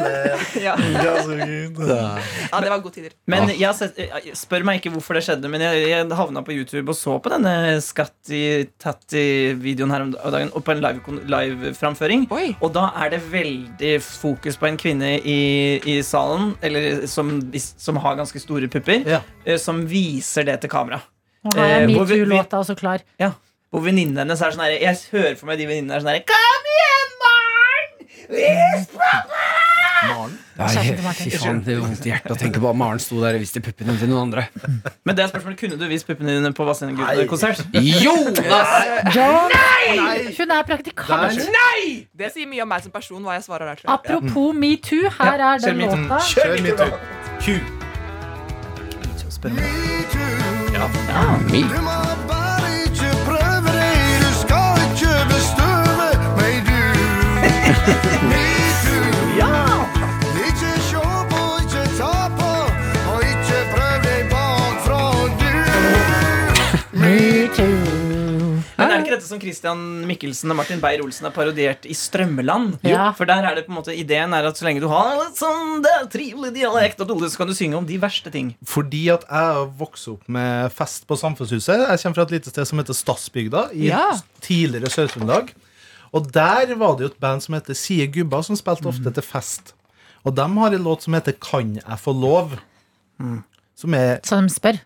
H: det var gode tider.
C: Men jeg har sett, jeg- spør meg ikke hvorfor det skjedde, men jeg, jeg havna på YouTube og så på denne Skatti-Tatti-videoen her om dagen, og på en live- live-framføring.
H: Oi.
C: og da er det veldig fokus på en kvinne i, i salen eller som, som har ganske store pupper,
E: Ja.
C: eh, som viser det til kamera.
G: Nå har jeg
C: Eh, hvor vi-
G: metoo-låta også klar.
C: Ja. Hvor venninnene hennes er sånn her Jeg hører for meg de venninnene er sånn her Kom igjen, barn! Vis
E: Maren.
G: Kjæresten
B: Nei,
G: til
B: fy
G: Martin.
B: faen, det gjør vondt i hjertet å tenke på at Maren sto der og viste puppene til noen andre.
C: Men det er spørsmålet, kunne du vist puppene dine på Vazelina-konsert?
B: Jonas!
G: Hun er praktikant.
E: Der.
H: Det sier mye om meg som person hva jeg svarer der. tror jeg.
G: Apropos metoo, her er den
C: kjør
G: låta.
E: Kjør metoo. Q.
B: Me.
I: Du må bare ikke prøve deg, du skal ikke bestøve meg, du. Metoo. Ikke sjå på, ikke ta på, og ikke prøv deg bakfra, du.
C: Men er det ikke dette som Christian Mikkelsen og Martin Beyer-Olsen har parodiert i Strømmeland?
G: Ja.
C: For der er det på en måte ideen er at så lenge du har litt sånn det er trivelig dialekt, og dole, så kan du synge om de verste ting.
E: Fordi at jeg vokste opp med fest på Samfunnshuset. Jeg kommer fra et lite sted som heter Stadsbygda, i
H: Ja.
E: tidligere Sør-Trøndelag. Og der var det jo et band som heter Sie Gubba, som spilte ofte til fest. Og de har en låt som heter Kan jeg få lov? Som er
G: Så de spør.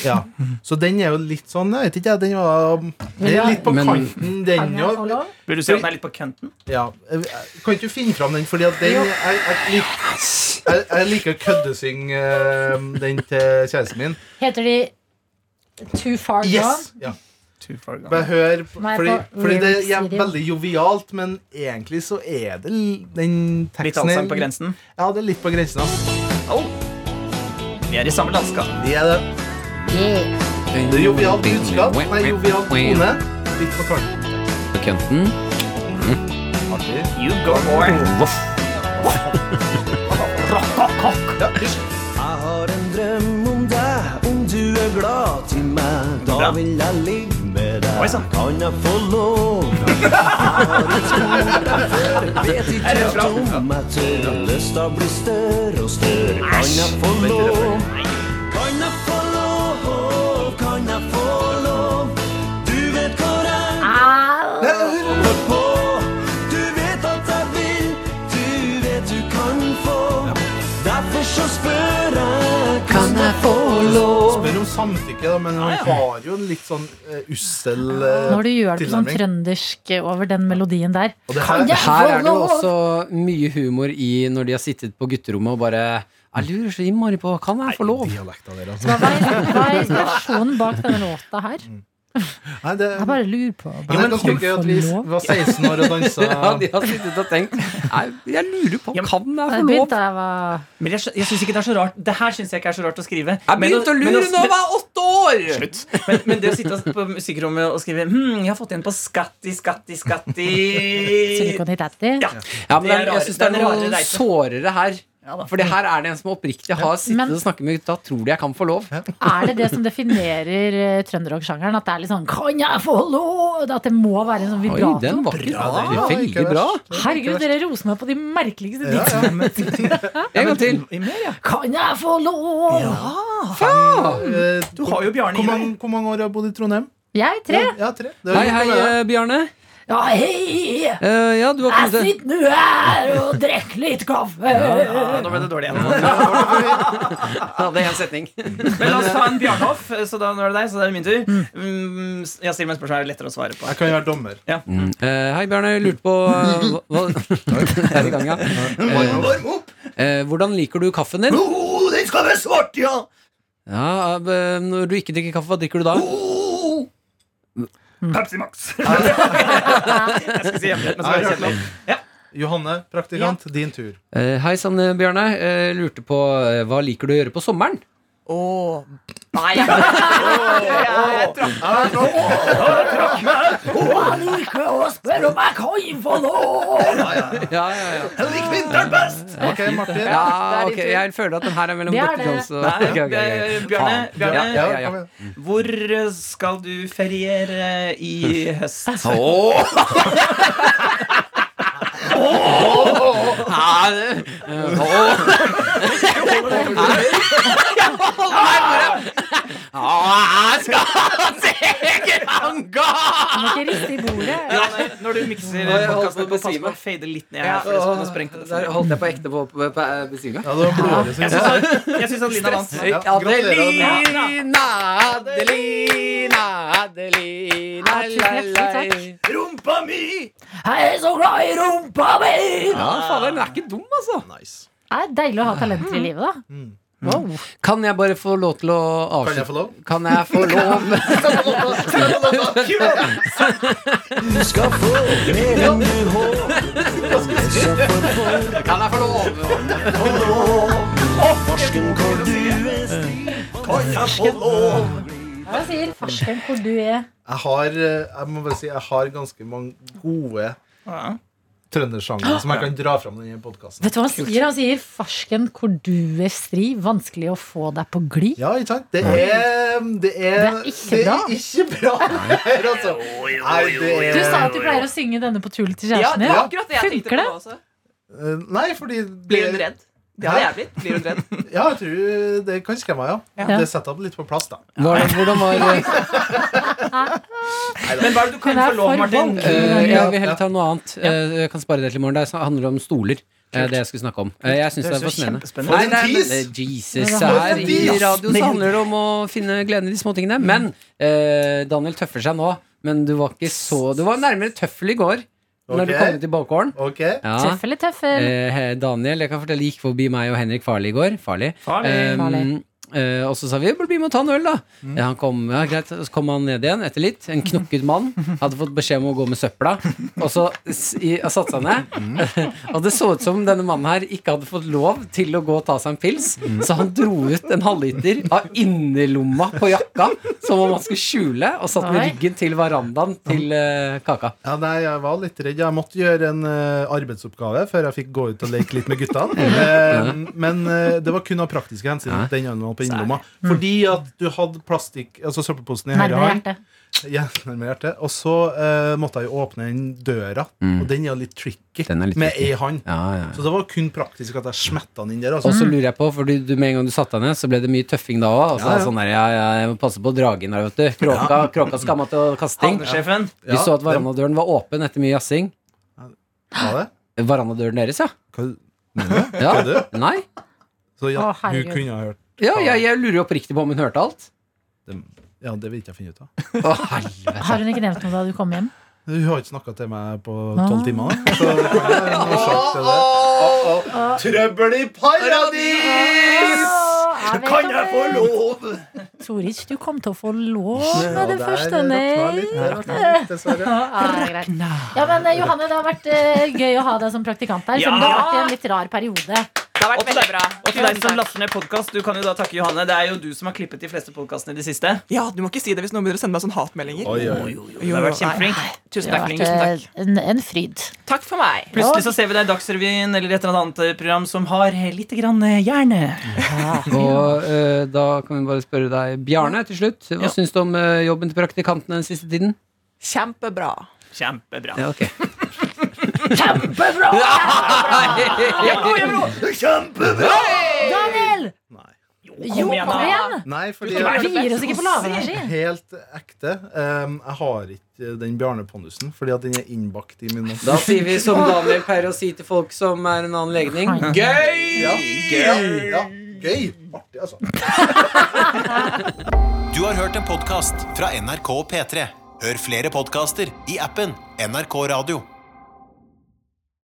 E: Ja. Så den er jo litt sånn Jeg vet ikke, jeg. Den var den er litt på
B: Men-
E: kanten, den òg.
C: Vil du si at den er litt på kønten?
E: Ja. Jeg- jeg- Kan ikke du finne fram den, fordi at den jeg, jeg, jeg, jeg, jeg liker å køddesynge eh, den til kjæresten min.
G: Heter de Too Far Gone?
E: Yes! Ja.
C: Too far gone.
E: Bare hør,
G: Nei,
E: fordi,
G: på
E: fordi det
G: lyrics
E: er
G: video.
E: veldig jovialt, men egentlig så er det l- den
C: Litt
E: teksten
C: allsang
E: er-
C: på grensen.
E: Ja, det er litt på grensen. ass.
C: Au! Vi er i samme landskap.
E: Det er det.
G: Yeah.
E: Det er jovialt budskap. Nei, jovial tone. Litt på kanten.
B: På kønten.
E: Artig.
C: You go more.
I: Jeg har en drøm om deg, om du er glad til meg. Da
C: Bra.
I: vil jeg ligge med
C: Oi,
I: deg.
C: sann.
I: Kan jeg få lov? Jeg har ikke spurt deg før, vet
C: Er det
I: ikke
C: bra?
I: helt om jeg tør. Lysta blir større og større. Kan jeg få lov? Kan jeg få lov? Kan jeg få lov? Du vet hvor jeg holder på. Du vet at jeg vil. Du vet du kan få. Derfor så spør jeg. Kan jeg få lov?
E: Spør om samtykke, da, men han har jo en litt sånn eh, ussel eh,
G: Når du gjør det på sånn
E: tilnærming.
G: trøndersk over den melodien der.
E: Og det her,
G: Ja.
B: Her er det jo også mye humor i når de har sittet på gutterommet og bare Jeg lurer så innmari på, kan jeg få lov?
E: dialekten der, altså.
G: Hva var hva er inspirasjonen bak denne låta her?
E: Nei, det,
G: Jeg bare lurer på.
E: men det er ganske gøy at vi s- var 16 år og dansa
B: Ja, de har sittet og tenkt Nei, jeg lurer på, kan jeg
G: Jeg
B: få lov?
G: begynte da jeg var
C: Men jeg, skj- jeg syns ikke det er så rart. Det her syns jeg ikke er så rart å skrive.
B: Jeg
C: Men
B: begynte å
C: men
B: lure når jeg
C: men-
B: var åtte år!
C: Men, men det å sitte og- på musikkrommet og skrive Hm, jeg har fått en på skatti, skatti, skatti
G: Silicon Hit Atty.
C: Ja.
B: Ja, men
C: Det er
B: jeg
C: rare-
B: syns det er
C: den rare
B: noe
C: reisen.
B: sårere her.
G: Ja da.
B: For det her er det en som oppriktig har sittet
G: Men-
B: og snakket med gutta, tror de jeg kan få lov.
G: Er det det som definerer eh, trønderrock-sjangeren? At det er litt sånn Kan jeg få lov? At det må være en sånn
B: Oi,
G: vibrato?
B: den var ikke
E: Ja,
B: bra.
E: det er ikke
B: Veldig bra.
E: verst. Det er ikke
G: Herregud,
E: verst.
G: dere roser meg på de merkeligste
E: Ja,
G: vitsene.
E: ja, men-
B: En gang til.
C: I mer, ja.
G: Kan jeg få lov?
E: Eh,
C: Du har jo Bjarne
E: Hvor
C: i deg.
E: mange, hvor mange år har du bodd i Trondheim?
G: Jeg tre.
E: Ja, ja, tre. Det er
B: Hei,
E: jo
B: hei,
E: imponerende.
B: eh, Bjarne.
G: Ja, hei!
B: Eh, ja, du har
G: Jeg
B: kommet til
G: sitter nå her og drikker litt kaffe.
C: Ja, nå ble det dårlig igjen.
B: Ja, det er en setning.
C: Men la oss ta
B: eh,
C: en Bjarnhoff, så da nå er det deg. Så det er min tur. Mm, jeg stiller meg et spørsmål det er lettere å svare på.
E: Jeg kan jo være dommer.
B: Eh, hei, Bjarne. Jeg Lurte på eh, hva, hva Det er i gang, ja. Eh,
I: Varm opp!
B: eh, hvordan liker du kaffen din?
I: Oh, den skal være svart, ja!
B: Ja, eh, Når du ikke drikker kaffe, hva drikker du da?
I: Oh,
C: Pepsi Max. jeg skal si hjemmebrent, men så er det kjedelig.
E: Johanne, praktikant, din tur.
B: Eh, hei sann, eh, Bjarne. Eh, lurte på eh, hva liker du å gjøre på sommeren?
H: Åh,
G: Han liker å spørre om jeg kan få lov.
B: Ja, ja, ja.
I: jeg liker vinteren best!
E: Ok, Martin.
B: ja
D: er
B: ok,
D: din tur.
B: Jeg føler at den her er mellom
G: Det er
B: dere
G: det.
B: to. Så.
C: Nei,
B: Ok, ok, ok.
C: eh, Bjørne,
B: Faen.
C: Bjørne,
B: Ja, ja, ja.
E: kom igjen.
C: hvor skal du feriere i høst?
B: Ja, det- eh, åh. Ja, jeg skal til Granga!
G: Han må ikke riste i bordet.
C: Ja, nei, når du mikser
B: Nå har jeg holdt
C: podkasten
B: på å
C: på, pass
B: besvime.
C: på å fade litt ned her.
B: Ja,
C: for det skulle sprengte det.
B: Der holdt jeg på ekte på å besvime.
E: Ja, det var blodåret
C: Jeg
E: som
C: syns at, jeg synes at Lina vant.
E: Ja, gratulerer.
B: Adelina, Adelina, Adelina
G: Ja, tusen hjertelig
B: la, la.
G: takk.
I: Rumpa mi!
G: Jeg er så glad i rumpa mi!
B: Ja, fader, den er ikke dum, altså.
G: Det er deilig å ha talenter i livet, da.
B: Kan jeg bare få lov til å
E: Kan jeg
B: avslutte?
E: få lov?
B: Kan jeg få lov?
I: Du skal få mer enn du håper. Alle skal få
B: Kan jeg få lov?
I: lov. Forsken hvor du er stiv. Kan jeg få lov?
G: Hva sier forskeren hvor du er?
E: Jeg har, eh, jeg må bare si, jeg har ganske mange gode
C: Ja.
E: trøndersjanger som jeg kan dra fram i denne podkasten.
G: Vet du hva han sier? Han sier 'farsken hvor du er stri'. Vanskelig å få deg på glid.
E: Ja, ikke sant? Det er Det er,
G: Det er ikke
E: det
G: bra.
E: er ikke bra. det her, altså. Nei, det
G: Du sa
E: er
G: at du pleier å synge denne på tull til
H: ja,
G: kjæresten
H: det
G: din.
H: var akkurat det jeg tenkte
G: Funker det?
H: på også.
E: Eh, Nei, fordi det-
H: Blir hun redd? Det hadde
E: Hæ?
H: jeg blitt. Blir hun redd?
E: Ja, jeg tror det kan skremme meg, ja.
G: Ja.
E: Det setter jeg litt på plass, da.
B: Hvordan, hvordan var eh,
C: Men hva er det du
G: Hun
C: kan
G: er
C: få lov,
G: for
C: Martin?
G: voldelig.
B: eh, Jeg vil heller ta noe annet. Eh, Jeg kan spare det til i morgen. Det handler om stoler. Eh, Det jeg skulle snakke om. Eh, Jeg syns det er
C: høres jo
B: fascinerende.
C: kjempespennende ut.
B: Nei,
E: For en
B: nei, men,
E: tease!
B: eh, Jesus,
G: Men det
E: var
B: her
E: en
B: i
E: tease.
B: radio så handler det om å finne gleden i de småtingene. Men eh, Daniel tøffer seg nå, men du var ikke så Du var nærmere tøffel i går. Når du
E: Ok.
B: kom ut i bakgården.
E: Ok?
B: Ja.
G: Tøff eller tøffel?
B: Ah. Eh, Daniel jeg kan fortelle, gikk forbi meg og Henrik Farli i går. Farli.
C: Farlig.
B: Eh,
G: Farli.
B: eh, og så sa vi bli med og ta en øl, da. Ja, han kom, ja, greit. Og Så kom han ned igjen etter litt. En knokket mann. Hadde fått beskjed om å gå med søpla. Og så s- i- satte han ned. og det så ut som denne mannen her ikke hadde fått lov til å gå og ta seg en pils. Så han dro ut en halvliter av innerlomma på jakka, som om han skulle skjule, og satt med
G: Oi.
B: ryggen til verandaen til eh, kaka.
E: Ja, nei, jeg var litt redd. Jeg måtte gjøre en eh, arbeidsoppgave før jeg fikk gå ut og leke litt med guttene. Eh, men eh, det var kun av praktiske hensyn.
B: Ja.
E: Den gangen var på innlomma. Fordi at du hadde plastikk, altså søppelposen i høyre
G: Mm. Nærmere
E: hånd.
G: hjertet.
E: Ja, nærmere hjertet. Og så eh, måtte jeg jo åpne den døra,
B: Mm.
E: og den er jo litt tricky
B: Den er litt
E: med
B: tricky.
E: ei hånd.
B: Ja, ja, ja.
E: Så det var kun praktisk at jeg smetta den inn der. Altså.
B: Og så lurer jeg på, for du, du, med en gang du satte deg ned, så ble det mye tøffing da òg.
E: Ja, ja.
B: Sånn der, ja, ja, jeg må passe på dragen her, vet du. Kråka, kråka skamma til å kaste ting.
C: Havnesjefen.
B: Vi så at verandadøren var åpen etter mye jassing.
E: Ja, det.
B: Verandadøren deres, ja.
E: Hva-
B: ja.
E: Kødder
B: Nei?
E: Så ja,
G: Å, herregud.
E: hun kunne ha hørt
B: Ja, jeg, jeg lurer oppriktig på om hun hørte alt.
E: Ja, det vil ikke jeg finne ut av.
B: Å, helvete.
G: Har hun ikke nevnt noe da du kom hjem?
E: Hun har ikke snakka til meg på
G: Ah.
E: tolv timer. da. Så det kan være en årsak til det.
I: Trøbbel i paradis!
G: Åh, vet
I: Kan
G: om
I: jeg få
G: det.
I: lov?
G: Torich, du kom til å få lov
E: Ja,
G: med det
E: der
G: første
E: rakna
G: nei.
E: litt, der rakna litt, dessverre.
G: Ja, det er greit. ja, men eh, Johanne, det har vært eh, gøy å ha deg som praktikant her. Selv om det har vært i en litt rar periode.
D: har vært
C: Og til
D: veldig
C: deg-
D: bra.
C: Og til deg som laster ned podcast, du kan jo da takke Johanne. Det er jo du som har klippet de fleste podkastene i det siste.
H: Ja, du må ikke si det hvis noen begynner å sende meg sånne hatmeldinger.
I: Oi, oi, oi.
H: Jo,
C: Du har vært
H: nei.
C: kjempeflink.
H: Tusen
G: Det
H: takk.
G: har
H: Tusen
G: vært
H: takk.
G: eh, en, en fryd.
D: Takk for meg.
C: Plutselig så ser vi deg i Dagsrevyen eller i et eller annet program som har litt grann eh, hjerne.
B: Og eh, da kan vi bare spørre deg, Bjarne, til slutt. Hva
C: Ja.
B: syns du om eh, jobben til praktikantene den siste tiden?
H: Kjempebra.
C: Kjempebra.
B: Ja, ok
G: Kjempebra!
E: Kjempebra!
G: Daniel!
E: Nei.
G: Jo,
C: igjen,
G: kom
C: da.
G: igjen!
E: Nei, fordi
D: Hva er det
G: Vi gir oss ikke på lavenergi.
E: Helt ekte. Um, jeg har ikke den bjarnepondusen, fordi at den er innbakt i min
B: Da sier vi som Daniel pleier å si til folk som er en annen legning.
E: Ja, gøy! Ja, gøy. Artig, altså.
I: Du har hørt en podkast fra NRK P3. Hør flere podkaster i appen NRK Radio.